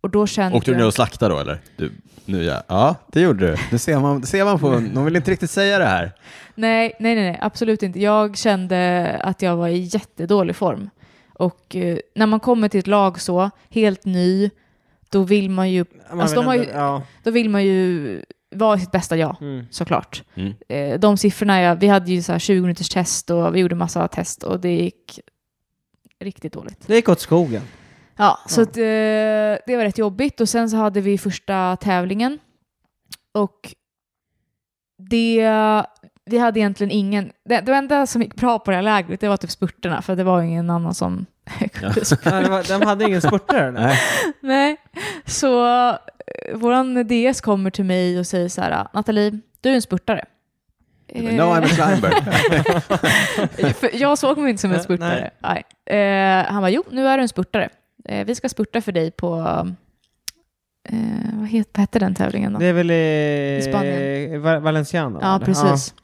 och då kände
Åkte du
jag...
ner och slaktade då eller? Du, nu ja. ja, det gjorde du. Det ser man, det ser man på De vill inte riktigt säga det här.
Nej, nej, nej, nej, absolut inte. Jag kände att jag var i jättedålig form. Och eh, när man kommer till ett lag så, helt ny, då vill man ju,
Man
Alltså,
vill
de har ju-
ändå- Ja.
då vill man ju vara i sitt bästa jag.
Mm.
såklart.
Mm.
Eh, De siffrorna, jag, vi hade ju så här 20 minuters test och vi gjorde massa test och det gick riktigt dåligt.
Det gick åt skogen.
Ja, så
Ja.
Att, eh, det var rätt jobbigt och sen så hade vi första tävlingen och det, vi hade egentligen ingen, det, det enda som gick bra på det här lägret det var typ spurterna för det var ingen annan som kunde spurta.
Ja, det var, de hade ingen spurtare
[laughs]
eller?
Nej.
Nej, så eh, våran DS kommer till mig och säger så här, Nathalie, du är en spurtare. Eh.
No, I'm a climber.
[laughs] För jag såg mig inte som en
Nej,
spurtare. Nej. Eh, han var jo, nu är du en spurtare. Eh, vi ska spurta för dig på... Eh, vad, het, vad hette den tävlingen då?
Det är väl i,
I Spanien.
Va- Valenciano?
ja,
eller?
precis.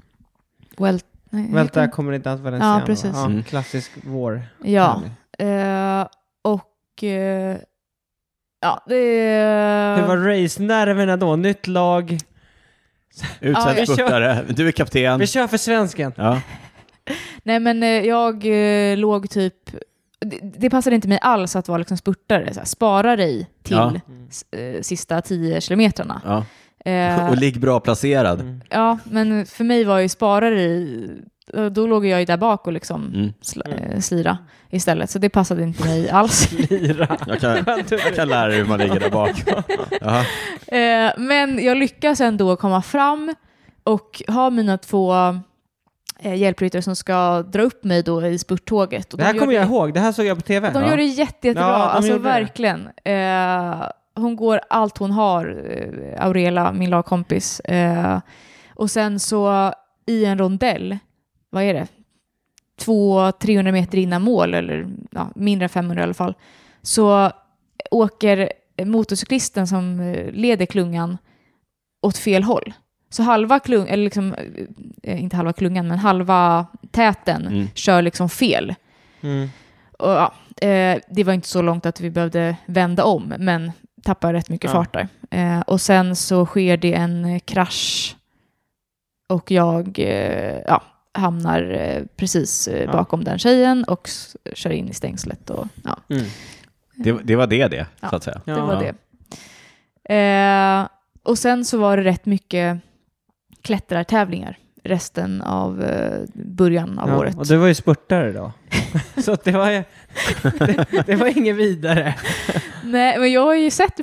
Well, nej,
Ja. Välta
heter-
kommer inte att Valenciano.
Ja, precis.
Ja,
Mm.
Klassisk vår.
Ja, eh, och... Eh, ja, det...
Hur var race-nerverna då? Nytt lag.
Ja,
Utsedd
jag
kör.
spurtare. Du är kapten.
Vi kör för svensken.
Ja.
Nej, men eh, jag eh, låg typ... Det, det passade inte mig alls att vara liksom spurtare. Så här, spara dig till
Ja.
s- eh, sista tio kilometrarna.
Ja. [laughs]
Eh,
Och ligg bra placerad.
Mm.
Ja, men för mig var ju sparare i... Då låg jag ju där bak och liksom
Mm.
sl- eh, slira istället, så det passade inte mig
[laughs]
alls.
Lira.
Jag, kan, jag kan lära dig hur man ligger där bak. Jaha.
Eh, men jag lyckas ändå komma fram och ha mina två eh, hjälpryttare som ska dra upp mig då i spurttåget. Och
Det här
de
kommer
gör
jag ihåg. Det här såg jag på tv.
De
Ja.
gör det jätte, jättebra,
Ja, de
alltså
gjorde det.
verkligen. Eh, hon går allt hon har, eh, Aurela, min lagkompis. Eh, och sen så i en rondell, vad är det? Två, 300 meter innan mål, eller ja, mindre än 500 i alla fall, så åker motorcyklisten som eh, leder klungan åt fel håll. Så halva klungan, eller liksom, eh, inte halva klungan, men halva täten
Mm.
kör liksom fel.
Mm.
Och, ja, eh, det var inte så långt att vi behövde vända om, men tappade rätt mycket
Ja.
fart där. Eh, och sen så sker det en eh, krasch och jag eh, ja, hamnar eh, precis eh,
Ja.
bakom den tjejen och s- kör in i stängslet. Och, ja,
Mm.
Det, det var det det,
Ja.
så att säga.
Ja.
det var det. Eh, och sen så var det rätt mycket klättrartävlingar resten av eh, början av
Ja,
året.
Och du var ju spurtare [laughs] då. Så att det var [laughs] ju... det, det var inget vidare.
Nej, men jag har ju sett...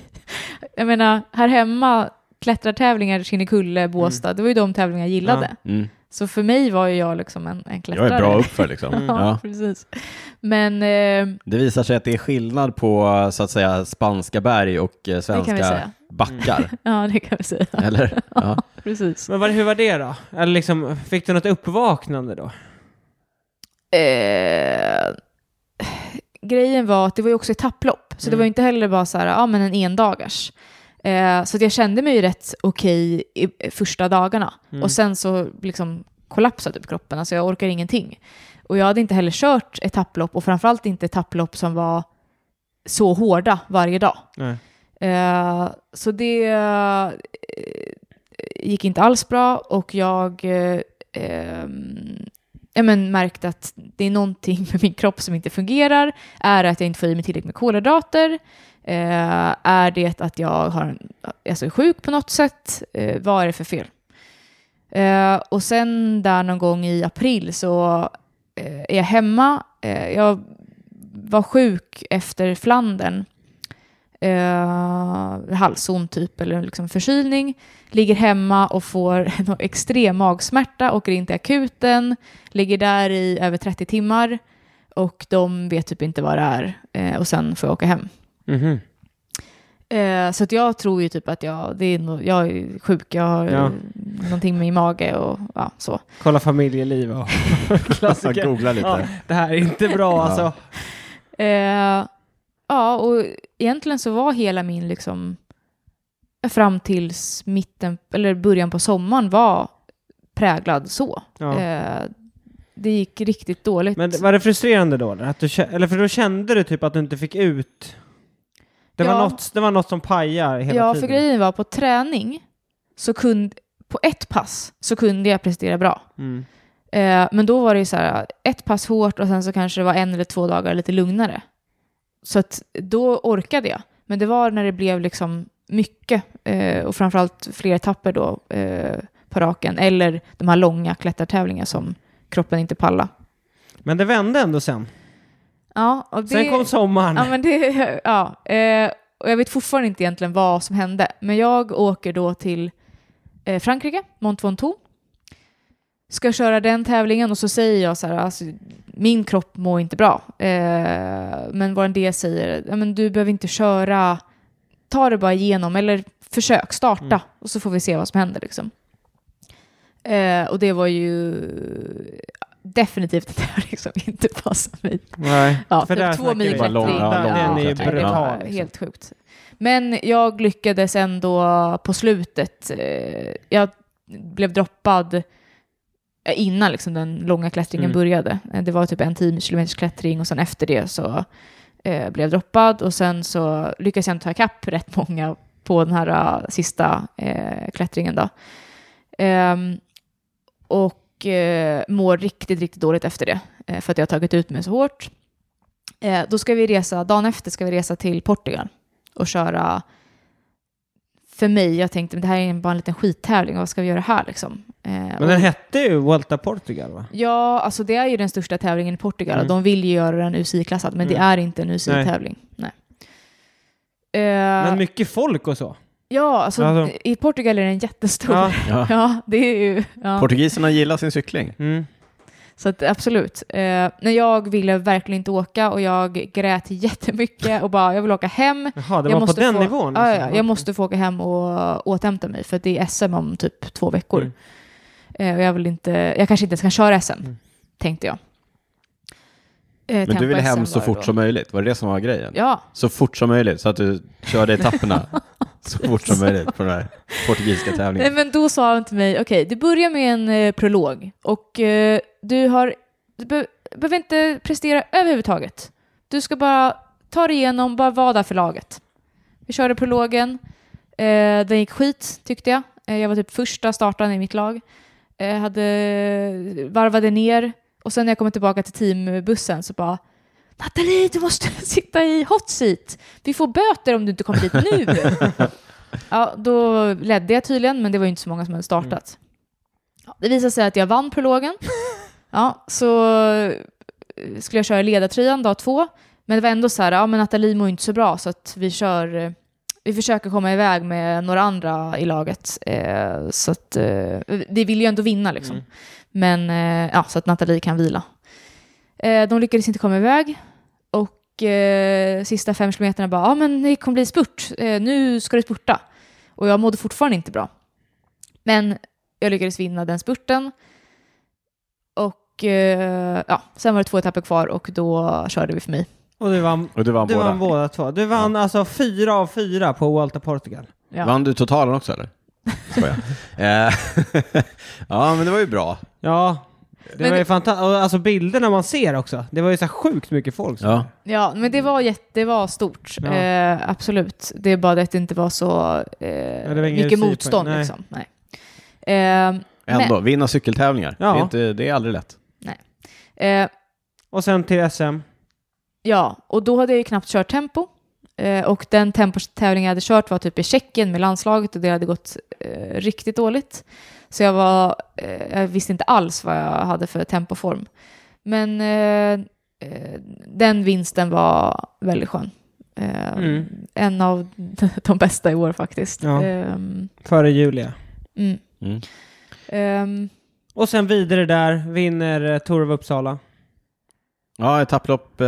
[laughs] jag menar, här hemma, klättrartävlingar, Kinnekulle, Båstad, det var ju de tävlingar jag gillade.
Mm.
Så för mig var ju jag liksom en, en
Jag
klättrare.
är bra uppför liksom.
Mm.
Ja.
[laughs] Ja, precis. Men eh,
Det visar sig att det är skillnad på så att säga spanska berg och eh,
det kan vi
svenska
säga. Mm.
backar.
[laughs] Ja, det kan vi säga.
Eller? Ja.
Precis.
Men var, hur var det då? Eller liksom, fick du något uppvaknande då?
Eh, grejen var att det var ju också etapplopp, så det
Mm.
var ju inte heller bara så här, ja men en endagars. Eh, så att jag kände mig ju rätt okej i första dagarna.
Mm.
Och sen så liksom kollapsade typ kroppen, alltså jag orkar ingenting. Och jag hade inte heller kört etapplopp, och framförallt inte etapplopp som var så hårda varje dag.
Nej.
Eh, så det eh, gick inte alls bra och jag eh, ehm, ja, men märkte att det är någonting med min kropp som inte fungerar. Är det att jag inte får i mig tillräckligt med kolhydrater? Eh, är det att jag har, en- alltså är sjuk på något sätt? Eh, vad är det för fel? Eh, och sen där någon gång i april så eh, är jag hemma. Eh, jag var sjuk efter Flandern. Eh, halsont typ, eller liksom förkylning. Ligger hemma och får [laughs] en extrem magsmärta, åker in till akuten. Ligger där i över 30 timmar. Och de vet typ inte vad det är. Eh, och sen får jag åka hem.
Mhm.
Eh, så att jag tror ju typ att jag, det är nog- jag är sjuk, jag har
Ja.
ja. någonting med min mage och ja, så.
Kolla familjeliv och [laughs] klassiker.
Googla lite.
Ja, det här är inte bra alltså.
Eh, ja, och egentligen så var hela min liksom fram tills mitten, eller början på sommaren var präglad så.
Ja.
Eh, det gick riktigt dåligt.
Men var det frustrerande då? Eller, att du, kä- eller för då kände du typ att du inte fick ut... Det, var,
Ja.
något, det var något som pajar hela
ja, för
tiden.
grejen var på träning så kunde, på ett pass så kunde jag prestera bra.
Mm.
Eh, men då var det ju så här, ett pass hårt och sen så kanske det var en eller två dagar lite lugnare. Så att då orkade jag. Men det var när det blev liksom mycket eh, och framförallt fler etapper då eh, på raken eller de här långa klättertävlingar som kroppen inte pallar.
Men det vände ändå sen.
Ja, och det,
Sen kom sommaren.
Ja, men det, ja. Eh, och jag vet fortfarande inte egentligen vad som hände. Men jag åker då till eh, Frankrike, Mont Ventoux. Ska köra den tävlingen och så säger jag så här, alltså, min kropp mår inte bra. Eh, men vår det säger, ja, men du behöver inte köra, ta det bara igenom eller försök, starta
Mm.
och så får vi se vad som händer. Liksom. Eh, och det var ju definitivt att det här liksom inte passade mig.
Nej.
Ja,
För där
typ två
snackar vi.
mil
Bara lång-
klättring.
ja,
Ja, typ.
lång
ja,
klättring.
det var
Brutal, liksom.
Helt sjukt. Men jag lyckades ändå på slutet. eh, Jag blev droppad eh, innan liksom den långa klättringen
Mm.
började. Eh, Det var typ en 10 kilometers klättring och sen efter det så eh, blev jag droppad och sen så lyckades jag ändå ta ikapp rätt många på den här eh, sista eh, klättringen då. Ehm, och eh, mår riktigt, riktigt dåligt efter det eh, för att jag har tagit ut mig så hårt. Eh, då ska vi resa, dagen efter ska vi resa till Portugal och köra för mig, jag tänkte men det här är bara en liten skittävling, vad ska vi göra här liksom? Eh, och-
Men den hette ju Vuelta Portugal va?
Ja, alltså det är ju den största tävlingen i Portugal.
Mm.
De vill ju göra den UCI-klassad, men det
Mm.
är inte en UCI-tävling. Nej. Eh,
Men mycket folk och så.
ja, alltså,
Alltså-
i Portugal är den jättestor. [laughs] Ja,
Ja.
det är ju... Ja.
Portugiserna gillar sin cykling.
Mm.
Så att, absolut. Eh, när jag ville verkligen inte åka och jag grät jättemycket och bara jag vill åka hem.
Jaha, det
jag
var på den
få,
nivån?
Ja,
alltså.
ja, jag måste få åka hem och återhämta mig för att det är SM om typ två veckor.
Mm.
Eh, och jag, vill inte, jag kanske inte ens kan köra SM,
Mm.
tänkte jag. Eh,
Men du
Tempo
ville hem
SM
så
var det
fort
då.
som möjligt, var det det som var grejen?
Ja,
Så fort som möjligt, så att du körde
[laughs]
etapperna så fort som möjligt på den här portugisiska
Nej,
tävlingen.
men då sa han till mig, okej, du börjar med en eh, prolog och eh, du, har, du be- behöver inte prestera överhuvudtaget. Du ska bara ta dig igenom, bara vara där för laget. Vi körde prologen, eh, den gick skit tyckte jag. Eh, jag var typ första startaren i mitt lag. Eh, hade, varvade ner och sen när jag kommer tillbaka till teambussen så bara Nathalie, du måste [laughs] sitta i hot seat. Vi får böter om du inte kommer dit nu. Ja, då ledde jag tydligen, men det var ju inte så många som hade startat. Ja, det visade sig att jag vann prologen. Ja, så eh, skulle jag köra i ledartröjan dag två. Men det var ändå så här, ja men Nathalie mår ju inte så bra så att vi kör, eh, vi försöker komma iväg med några andra i laget. Eh, så att, eh, vi vill ju ändå vinna liksom.
Mm.
Men, eh, ja, så att Nathalie kan vila. Eh, de lyckades inte komma iväg och eh, sista fem kilometerna bara, ja men det kommer bli spurt, eh, nu ska du spurta. Och jag mådde fortfarande inte bra. Men jag lyckades vinna den spurten. Och eh, ja, sen var det två etapper kvar och då körde vi för mig.
Och du vann,
Och du vann
du
båda.
vann båda två. Du vann alltså fyra av fyra på Vuelta Portugal.
Ja.
Vann du totalen också eller?
[laughs]
Skojar. Eh, [laughs] ja, men det var ju bra.
Ja, det
Men
var ju
det-
fantastiskt. Alltså bilderna man ser också. Det var ju så här sjukt mycket folk. som-
Ja.
Ja, men det var, jätte, det var stort.
Ja.
Eh, absolut. Det är bara det att det inte var så eh,
det var ingen
mycket
sydpoäng.
motstånd.
Nej.
Liksom. Nej. Eh,
Ändå, vinna cykeltävlingar.
Ja.
Det, är inte, det är aldrig lätt.
eh,
Och sen till SM.
ja, och då hade jag ju knappt kört tempo. Eh, och den tempotävling jag hade kört var typ i Tjeckien med landslaget och det hade gått eh, riktigt dåligt. Så jag, var, eh, jag visste inte alls vad jag hade för tempoform. Men eh, eh, den vinsten var väldigt skön. Eh,
Mm.
En av [laughs] de bästa i år faktiskt.
Ja.
Ehm,
Före Julia.
mm.
Mm.
Ehm,
Och sen vidare där, vinner eh, Tour of Uppsala.
Ja, etapplopp, eh,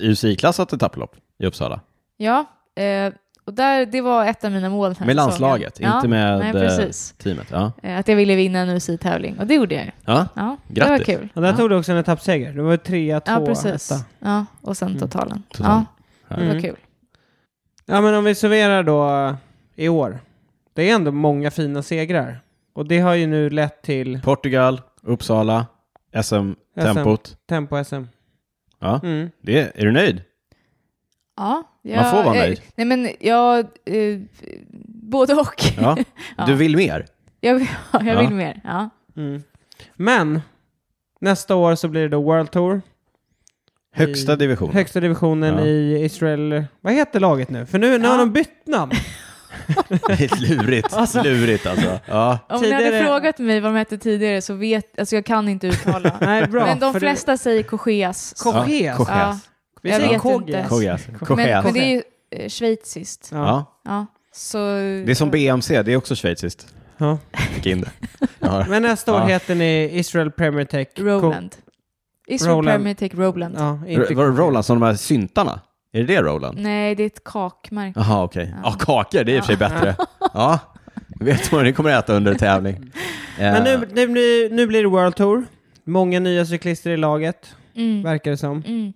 UCI-klassat etapplopp i Uppsala.
ja, eh, och där, det var ett av mina mål. den här
Med
säsongen.
landslaget,
ja,
inte med
Nej,
eh,
precis.
teamet. Ja.
Eh, Att jag ville vinna en UCI-tävling, och det gjorde jag ju.
Ja.
Ja, det var
Grattis.
kul.
Och där
Ja.
tog du också en etappseger. Du var ju trea, tvåa,
Ja, precis.
etta.
Ja, och sen totalen.
Totalen.
Ja, det var
Mm.
kul.
Ja, men om vi summerar då eh, i år. Det är ändå många fina segrar. Och det har ju nu lett till
Portugal, Uppsala, SM-tempot.
Tempo-SM.
Ja.
Mm.
Det, är du
[laughs]
nöjd?
Ja,
Man får vara
eh,
nöjd.
Nej, men jag... Eh, både och.
Ja.
Ja.
Du vill mer?
[laughs] Jag, jag vill
Ja.
mer. Ja.
Mm. Men nästa år så blir det då World Tour.
Högsta
I-
divisionen.
Högsta divisionen
Ja.
i Israel. Vad heter laget nu? För nu, nu har
Ja.
de bytt namn.
[laughs] Det är lurigt.
Alltså.
Lurigt alltså. Ja.
Om ni
Tidigare-
hade frågat mig vad de hette tidigare så vet... Alltså jag kan inte uttala.
Nej, [laughs] bra.
men de
för
flesta säger Kogeas.
Det... Koges.
Ja, Koges.
Ja,
alltså. Vi
jag
säger
vet
Koges.
inte.
Kogias.
men,
Kogias.
men det är ju eh, schweiziskt.
Ja.
Ja.
Ja. Så,
Det är som BMC, det är också schweiziskt.
Ja.
Fick in det. Ja.
Men nästa år
Ja.
heter ni Israel Premier Tech. Ko-
Roland. Israel
Roland.
Premier Take Roland.
Ja, [laughs] inte...
R- Var det Roland som de här syntarna? Är det det Roland?
Nej, det är ett kakmärke.
Jaha, okej. Ja,
Ja.
kakor, det är i och för sig bättre. Ja, vet vad ni kommer äta under en tävling.
Men
Eh,
nu, nu, blir- nu blir det World Tour. Många nya cyklister i laget,
Mm.
verkar det som.
Mm.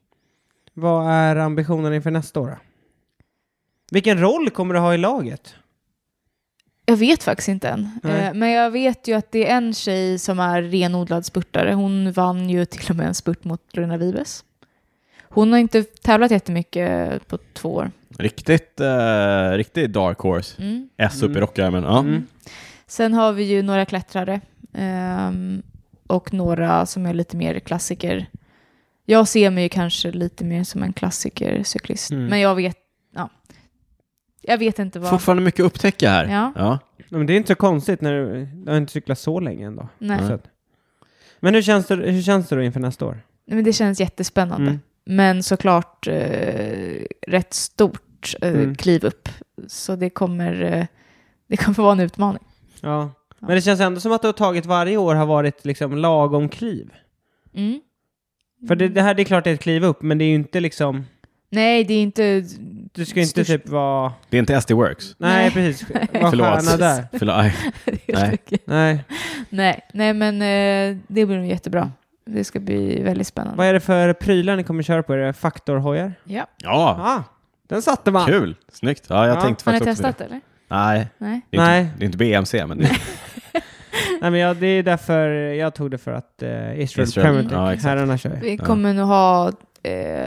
Vad är ambitionen inför nästa år? då? Vilken roll kommer du ha i laget?
Jag vet faktiskt inte än.
Nej.
Eh, Men jag vet ju att det är en tjej som är renodlad spurtare. Hon vann ju till och med en spurt mot Lorena Vives. Hon har inte tävlat jättemycket på två år.
Riktigt, eh, riktigt dark horse.
Mm.
S upp i rockärmen. Ja.
Mm.
Sen har vi ju några klättrare ehm, och några som är lite mer klassiker. Jag ser mig ju kanske lite mer som en klassikercyklist,
Mm.
men jag vet, ja. jag vet inte vad.
Fortfarande mycket att upptäcka här.
Ja.
Ja, Men det är inte så konstigt när du, du har inte cyklat så länge ändå.
Nej.
Så att- Men hur känns, det, hur känns det då inför nästa år?
Nej, Men det känns jättespännande.
Mm.
Men såklart eh, rätt stort eh,
Mm.
kliv upp. Så det kommer, eh, det kommer vara en utmaning.
Ja. Men det känns ändå som att det har tagit varje år har varit liksom lagom kliv.
Mm.
För det, det här det är klart det är ett kliv upp, men det är ju inte liksom...
Nej, det är
[laughs]
inte...
Du ska ju inte
Störst-
typ vara...
Det är inte SD Works.
Nej,
Nej. [laughs]
precis. Vara
Förlåt.
stjärna där.
Förlåt. Aj. Nej.
Nej.
Nej.
Nej, nej, men eh, det blir nog jättebra. Det ska bli väldigt spännande.
Vad är det för prylar ni kommer köra på? Är det faktorhojar?
Ja.
Ja,
Ah, den satte man!
kul. Snyggt. Ja, jag
Ja.
tänkte
Har ni
faktiskt också på
testat eller?
det. Nej,
Nej.
det är, Nej.
Nej.
Inte, det är inte BMC, men det är
Nej, men jag, det är därför jag tog det för att eh, Israel,
Israel.
Premier League,
Ja, exakt.
herrarna kör ju.
Vi kommer nog ha eh,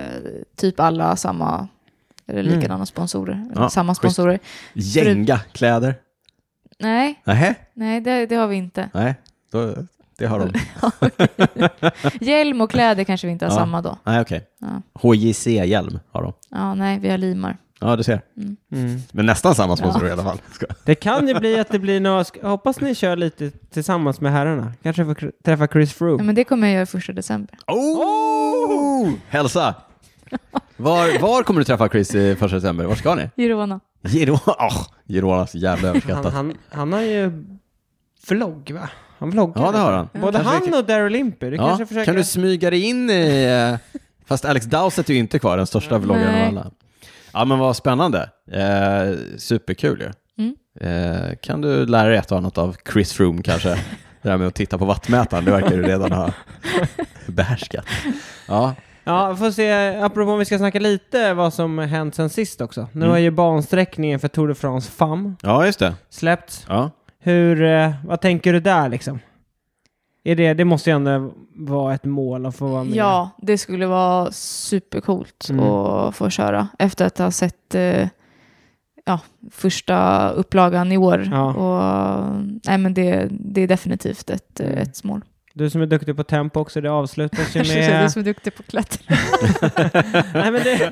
typ alla samma, eller
Mm.
likadana sponsorer. eller
Ja,
samma
schysst.
sponsorer.
Jenga-kläder.
Nej,
Nej,
nej det, det har vi
[laughs]
inte.
nej. Då, det har de.
Hjälm och kläder kanske vi inte har
Ja.
samma då.
Nej, okej.
Ja.
HJC-hjälm har de.
Ja, nej, vi har limar.
Ja, du ser.
Mm.
Men nästan samma sponsor i alla fall. Ska-
Det kan ju bli att det blir några... sk- Jag hoppas ni kör lite tillsammans med herrarna. Kanske får kr- träffa Chris
Nej,
Froome.
men det kommer jag göra första december.
Oh! Hälsa! Var, var kommer du träffa Chris i första december? Var ska ni?
Girona.
Girona? Oh, Girona, så jävla
Han,
överskattat.
han, han har ju vlogg, va? Han vloggar.
Ja, det har han.
Både
Kanske vi
han och Daryl Impey. Du
Ja,
kanske försöker...
Kan du smyga dig in i... eh, Fast Alex Dowsett är ju inte kvar, den största vloggaren av
Nej.
alla. Ja, men vad spännande. Eh, superkul ju.
Mm.
Eh, kan du lära dig ett och annat av Chris Froome kanske? Det där med att titta på vattmätaren, det verkar du redan
[laughs]
ha behärskat. Ja,
Ja, får se. Apropå om vi ska snacka lite vad som hänt sen sist också. Nu
Mm.
har ju bansträckningen för Tour de France FAM
ja just det.
släppts.
Ja.
Hur, eh, vad tänker du där liksom? Är det, det måste ju ändå vara ett mål att få vara med.
Ja, det skulle vara supercoolt
Mm.
att få köra efter att ha sett eh, ja, första upplagan i år.
Ja.
Och, nej, men det, det är definitivt ett,
Mm.
eh, ett mål.
Du som är duktig på tempo också,
[laughs]
det avslutas ju
Jag känner mig
med...
som är duktig på att klättra.
[laughs] Nej, men det,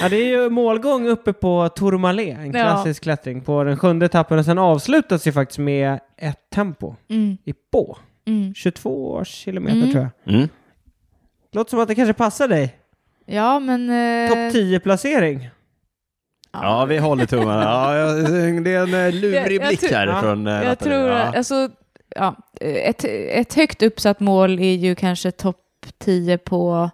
ja, det är ju målgång uppe på Tourmalet, en
Ja.
klassisk klättring på den sjunde etappen och sen avslutas ju faktiskt med ett tempo
[laughs] Mm,
i på
mm.
22 kilometer
Mm.
tror jag.
Mm.
Låter som att det kanske passar dig.
Ja, men... eh,
Topp Mm. 10-placering.
Ja, vi håller tummarna. Ja, jag- det är en eh, lurig
Jag- jag
blick
tror-
här
Ja.
från eh,
Jag
Nathalie.
tror
ja.
att, alltså, ja, ett, ett högt uppsatt mål är ju kanske topp 10 på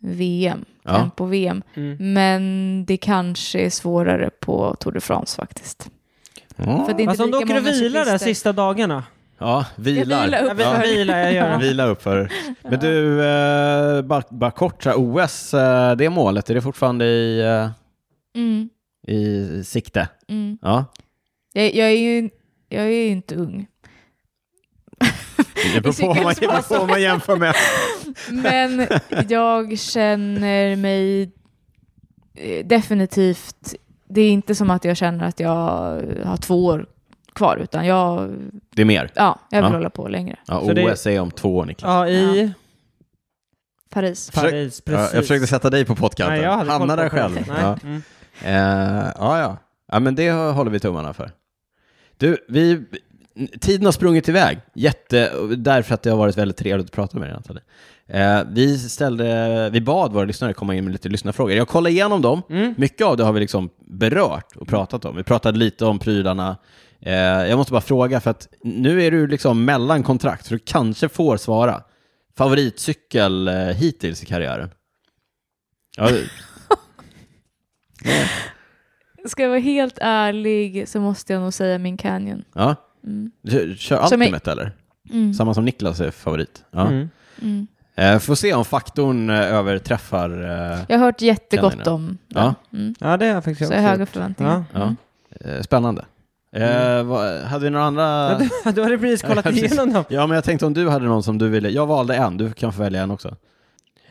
VM,
Ja.
på VM.
Mm.
Men det kanske är svårare på Tour de France faktiskt.
Mm.
För det är inte
Fast om du
lika
åker och
många
vilar där
cyklister.
sista dagarna.
Ja, vilar.
Jag vilar upp
Jag vill
Ja.
vila,
Ja, [laughs]
jag gör det.
Vila upp för. Men du, eh, bara, bara kort, så här, OS, eh, det målet, är det fortfarande i, eh,
Mm,
i sikte?
mm.
Ja.
Jag, jag är ju jag är ju inte ung.
Det beror på vad man, det beror på vad man jämför med.
Men
[laughs]
jag känner mig eh, definitivt, det är inte som att jag känner att jag har två år kvar, utan jag,
Det är mer.
ja, jag vill
Ja.
hålla på längre.
Ja,
Så det-
OS är om två år, Niklas.
Ja, i
Paris.
Försök-
Paris,
Ja,
precis.
jag försökte sätta dig på pottkanten.
Nej, jag hade
Hamna
koll på
där själv.
Paris. Nej.
Ja. Eh,
Mm.
ja, ja. ja, men det håller vi tummarna för. Du, vi, tiden har sprungit iväg, Jätte, därför att det har varit väldigt trevligt att prata med dig, Nathalie. Eh, vi, ställde, vi bad våra lyssnare komma in med lite lyssnarfrågor. Jag kollade igenom dem.
Mm.
Mycket av det har vi liksom berört och pratat om. Vi pratade lite om prylarna. Eh, jag måste bara fråga, för att nu är du liksom mellan kontrakt, så du kanske får svara. Favoritcykel eh, hittills i karriären? Ja,
Ska jag vara helt ärlig så måste jag nog säga min Canyon.
ja.
Mm.
Kör, kör
Som är-
Ultimate eller?
Mm.
Samma som Niklas är favorit. Ja.
Mm.
Mm.
Eh, får se om faktorn eh, överträffar... Eh,
Jag har hört jättegott
Canyon,
om
Ja.
den. Mm.
Ja, det har jag faktiskt
Så jag
också
har höga
gjort.
förväntningar.
ja.
Mm.
Eh, spännande. Eh, vad, hade vi några andra...
Ja. [laughs] Du hade precis kollat
Ja, precis.
igenom dem.
Ja, men jag tänkte om du hade någon som du ville... Jag valde en, du kan få välja en också.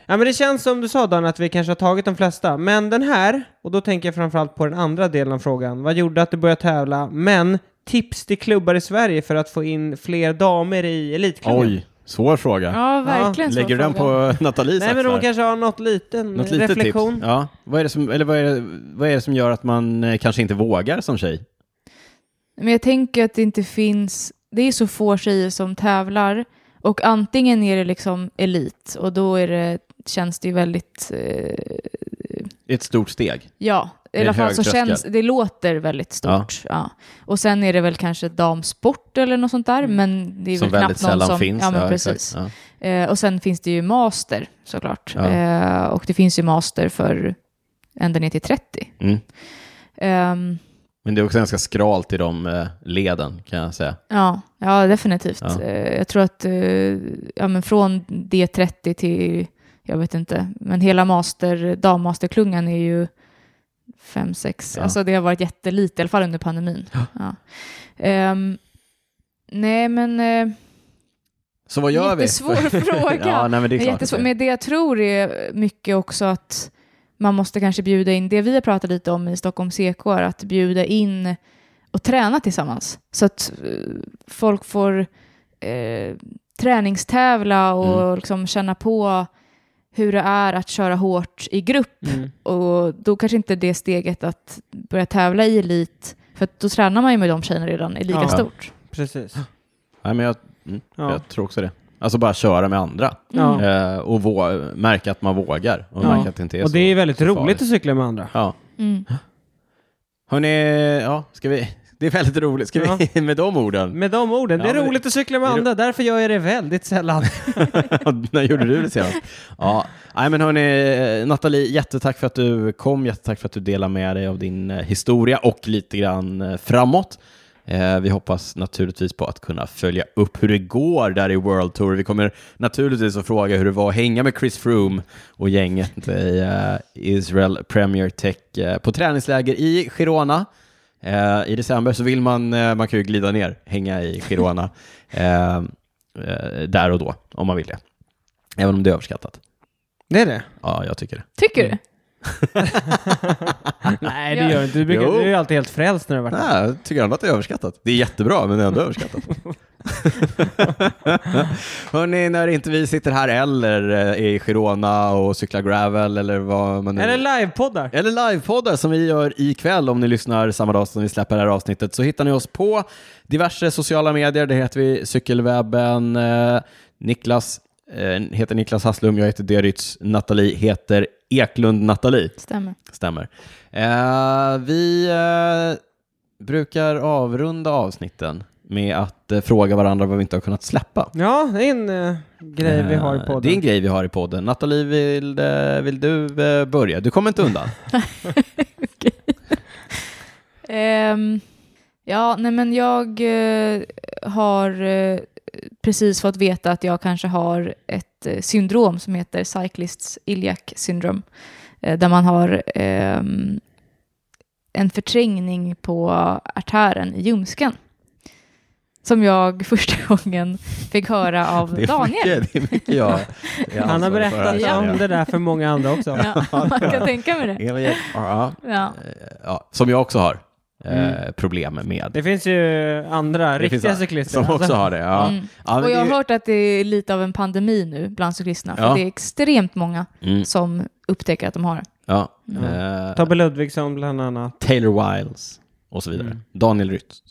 Ja, men det känns som du sa Dan att vi kanske har tagit de flesta. Men den här, och då tänker jag framförallt på den andra delen av frågan. Vad gjorde att du började tävla? Men tips till klubbar i Sverige för att få in fler damer i elitklubben?
Oj, svår fråga.
Ja, verkligen. svår
Lägger du den
fråga.
på [laughs] Nathalies
Nej men
axlar?
de kanske har något liten
Något litet
reflektion.
tips? Ja. Vad, är det som, eller vad, är det, vad är det som gör att man eh, kanske inte vågar som tjej?
Men jag tänker att det inte finns, det är så få tjejer som tävlar och antingen är det liksom elit och då är det, känns det ju väldigt, eh,
Det är ett stort steg.
ja,
är
i alla fall
hög
så
tröskel.
känns det, låter väldigt stort. Ja. Och sen är det väl kanske damsport eller något sånt där, men det är
Som
väl
väldigt
knappt någon
sällan
som...
finns.
Ja, men
exakt.
precis.
Ja.
Eh, och sen finns det ju master såklart.
Ja.
Eh, och det finns ju master för ända ner till 30.
Mm.
Ehm,
Men det är också ganska skralt i de eh, leden kan jag säga.
Ja, ja definitivt.
Ja.
Eh, Jag tror att eh, ja, men från D30 till, jag vet inte, men hela master, dammasterklungan är ju 5-6.
Ja.
Alltså det har varit jättelite, i alla fall under pandemin. Ja. Ehm, nej, men eh,
Så vad gör vi? [laughs]
Jättesvår fråga.
ja, nej, men det är
det
klart att
är jättesvårt.
det är.
Men det jag tror är mycket också att man måste kanske bjuda in, det vi har pratat lite om i Stockholm CK, är att bjuda in och träna tillsammans. Så att eh, folk får eh, träningstävla och
Mm.
liksom känna på hur det är att köra hårt i grupp.
Mm.
Och då kanske inte det steget att börja tävla i elit, för att då tränar man ju med de tjejerna redan, är lika
Ja.
stort.
Precis.
Nej, men jag, mm,
Ja.
jag tror också det. Alltså bara köra med andra
Ja.
eh, och vå- märka att man vågar och
Ja.
märka att det inte är
Och
så.
det är väldigt
så
roligt
farligt.
att cykla med andra.
Ja.
Mm.
Hörrni, ja, ska vi... Det är väldigt roligt. Ska vi [laughs] med de orden?
Med de orden, det
Ja,
är
men det-
roligt att cykla med
det är ro-
andra, därför gör jag det väldigt sällan.
[laughs] När gjorde du det senast? Ja, nej men hörni, Nathalie, jättetack för att du kom, jättetack för att du delade med dig av din eh, historia och lite grann eh, framåt. Eh, Vi hoppas naturligtvis på att kunna följa upp hur det går där i World Tour. Vi kommer naturligtvis att fråga hur det var att hänga med Chris Froome och gänget i eh, Israel Premier Tech eh, på träningsläger i Girona. Eh, I december så vill man, eh, man kan ju glida ner, hänga i Girona eh, eh, där och då om man vill det. Även om det är överskattat.
Det är det?
Ja, jag tycker det.
Tycker
Mm.
du?
[laughs] Nej
Ja.
det gör du inte, du, brukar,
Jo.
du är ju alltid helt frälst när du har varit
Nej, jag tycker ändå att det är överskattat. Det är jättebra, men det är ändå [laughs] överskattat. Hörni, när inte vi sitter här eller eh, är i Girona och cyklar gravel eller vad man nu...
Eller livepoddar.
Eller livepoddar som vi gör ikväll om ni lyssnar samma dag som vi släpper det här avsnittet så hittar ni oss på diverse sociala medier. Det heter vi Cykelwebben. Eh, Niklas eh, heter Niklas Hasslum, jag heter Derytz, Nathalie heter Eklund Nathalie.
Stämmer.
Stämmer. Eh, vi eh, brukar avrunda avsnitten med att eh, fråga varandra vad vi inte har kunnat släppa.
Ja, det är en eh, grej vi har i
Eh,
podden.
Det är en grej vi har i podden. Nathalie, vill, eh, vill du eh, börja? Du kommer inte
[laughs]
undan.
Ehm, ja, nej men jag eh, har eh, precis fått veta att jag kanske har ett eh, syndrom som heter cyclists iliac syndrome. Eh, där man har ehm, en förträngning på artären i ljumsken. Som jag [laughs] första gången fick höra av
Det är
Daniel.
mycket, det är mycket jag alltså, jag
Han har
ansvarig för här,
berättat
känner jag.
om det där för många andra också.
Ja, [laughs] man kan tänka mig det.
Elin, ja,
Ja.
ja, som jag också har eh,
Mm.
problem med.
Det finns ju andra
Det finns
riktiga
andra
cyklister.
Som också
alltså.
har det, ja.
Mm.
ja men
Och jag har
det är-
hört att det är lite av en pandemi nu bland cyklisterna. För
Ja.
det är extremt många
Mm,
som upptäcker att de har det.
ja.
Mm.
Eh,
Tobbe Ludvigsson bland annat.
Taylor Wiles och så vidare.
Mm.
Daniel
[laughs]
Rytz.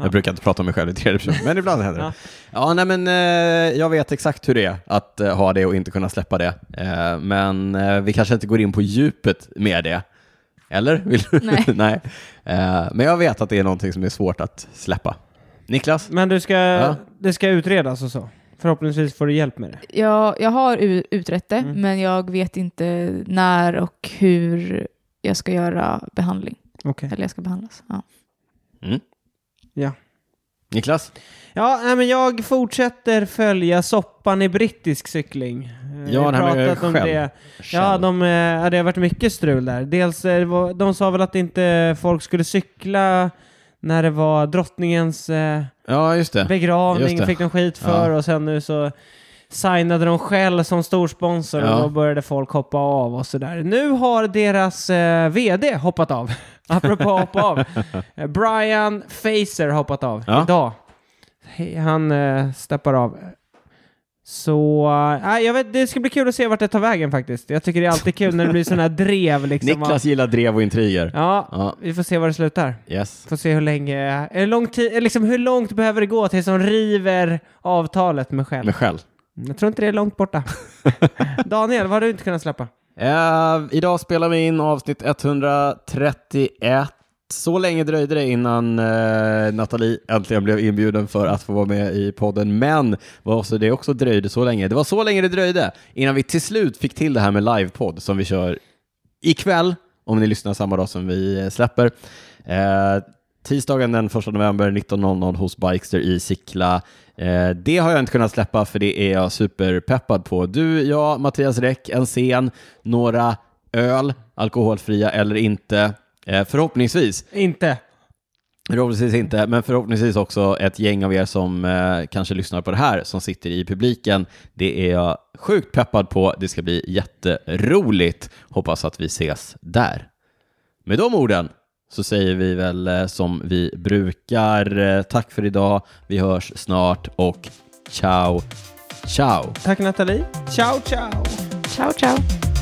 jag brukar inte prata om mig själv i tredje person, men ibland händer det.
Ja.
Ja, nej, men, eh, jag vet exakt hur det är att eh, ha det och inte kunna släppa det. Eh, men eh, vi kanske inte går in på djupet med det. Eller? Vill du?
Nej.
[laughs] Eh, men jag vet att det är någonting som är svårt att släppa. Niklas?
Men du ska,
Ja.
det ska utredas och så. Förhoppningsvis får du hjälp med det.
Jag, jag har u- utrett det,
Mm.
men jag vet inte när och hur jag ska göra behandling.
Okej.
Eller jag ska behandlas. Ja.
Niklas?
Ja, nej, men jag fortsätter följa soppan i brittisk cykling. Eh, vi
det här med
pratat om
själv.
det. Ja, de, eh, ja, det har varit mycket strul där. Dels, eh, det var- de sa väl att inte folk skulle cykla när det var drottningens eh,
ja just det. Just
begravning,
det.
fick de skit för och sen nu så signade de själv som storsponsor
Ja.
och då började folk hoppa av och sådär. Nu har deras eh, vd hoppat av. [laughs] Apropå hoppa av. Eh, Brian Facer har hoppat av
Ja.
idag. He- Han eh, steppar av. Så, eh, jag vet, det ska bli kul att se vart det tar vägen faktiskt. Jag tycker det är alltid kul när det blir sådana här drev liksom.
Niklas gillar drev och intriger.
Ja,
Ja.
vi får se var det slutar.
Yes.
Får se hur länge, är det lång tid, liksom hur långt behöver det gå tills de river avtalet med själv?
Men själv.
Jag tror inte det är långt borta. Daniel, vad har du inte kunnat släppa?
Eh, idag spelar vi in avsnitt 131. Så länge dröjde det innan eh, Nathalie äntligen blev inbjuden för att få vara med i podden. Men vad också det också dröjde så länge. Det var så länge det dröjde innan vi till slut fick till det här med livepodd som vi kör ikväll, om ni lyssnar samma dag som vi eh, släpper. Eh, tisdagen den 1 november 19.00 hos Bikester i Sickla. Eh, det har jag inte kunnat släppa för det är jag superpeppad på. Du, jag, Mattias Räck, en scen, några öl, alkoholfria eller inte. Eh, förhoppningsvis
Inte.
Förhoppningsvis inte, men förhoppningsvis också ett gäng av er som eh, kanske lyssnar på det här som sitter i publiken. Det är jag sjukt peppad på. Det ska bli jätteroligt. Hoppas att vi ses där. Med de orden så säger vi väl eh, som vi brukar. Eh, tack för idag. Vi hörs snart och ciao, ciao.
Tack Nathalie. Ciao, ciao!
Ciao, ciao.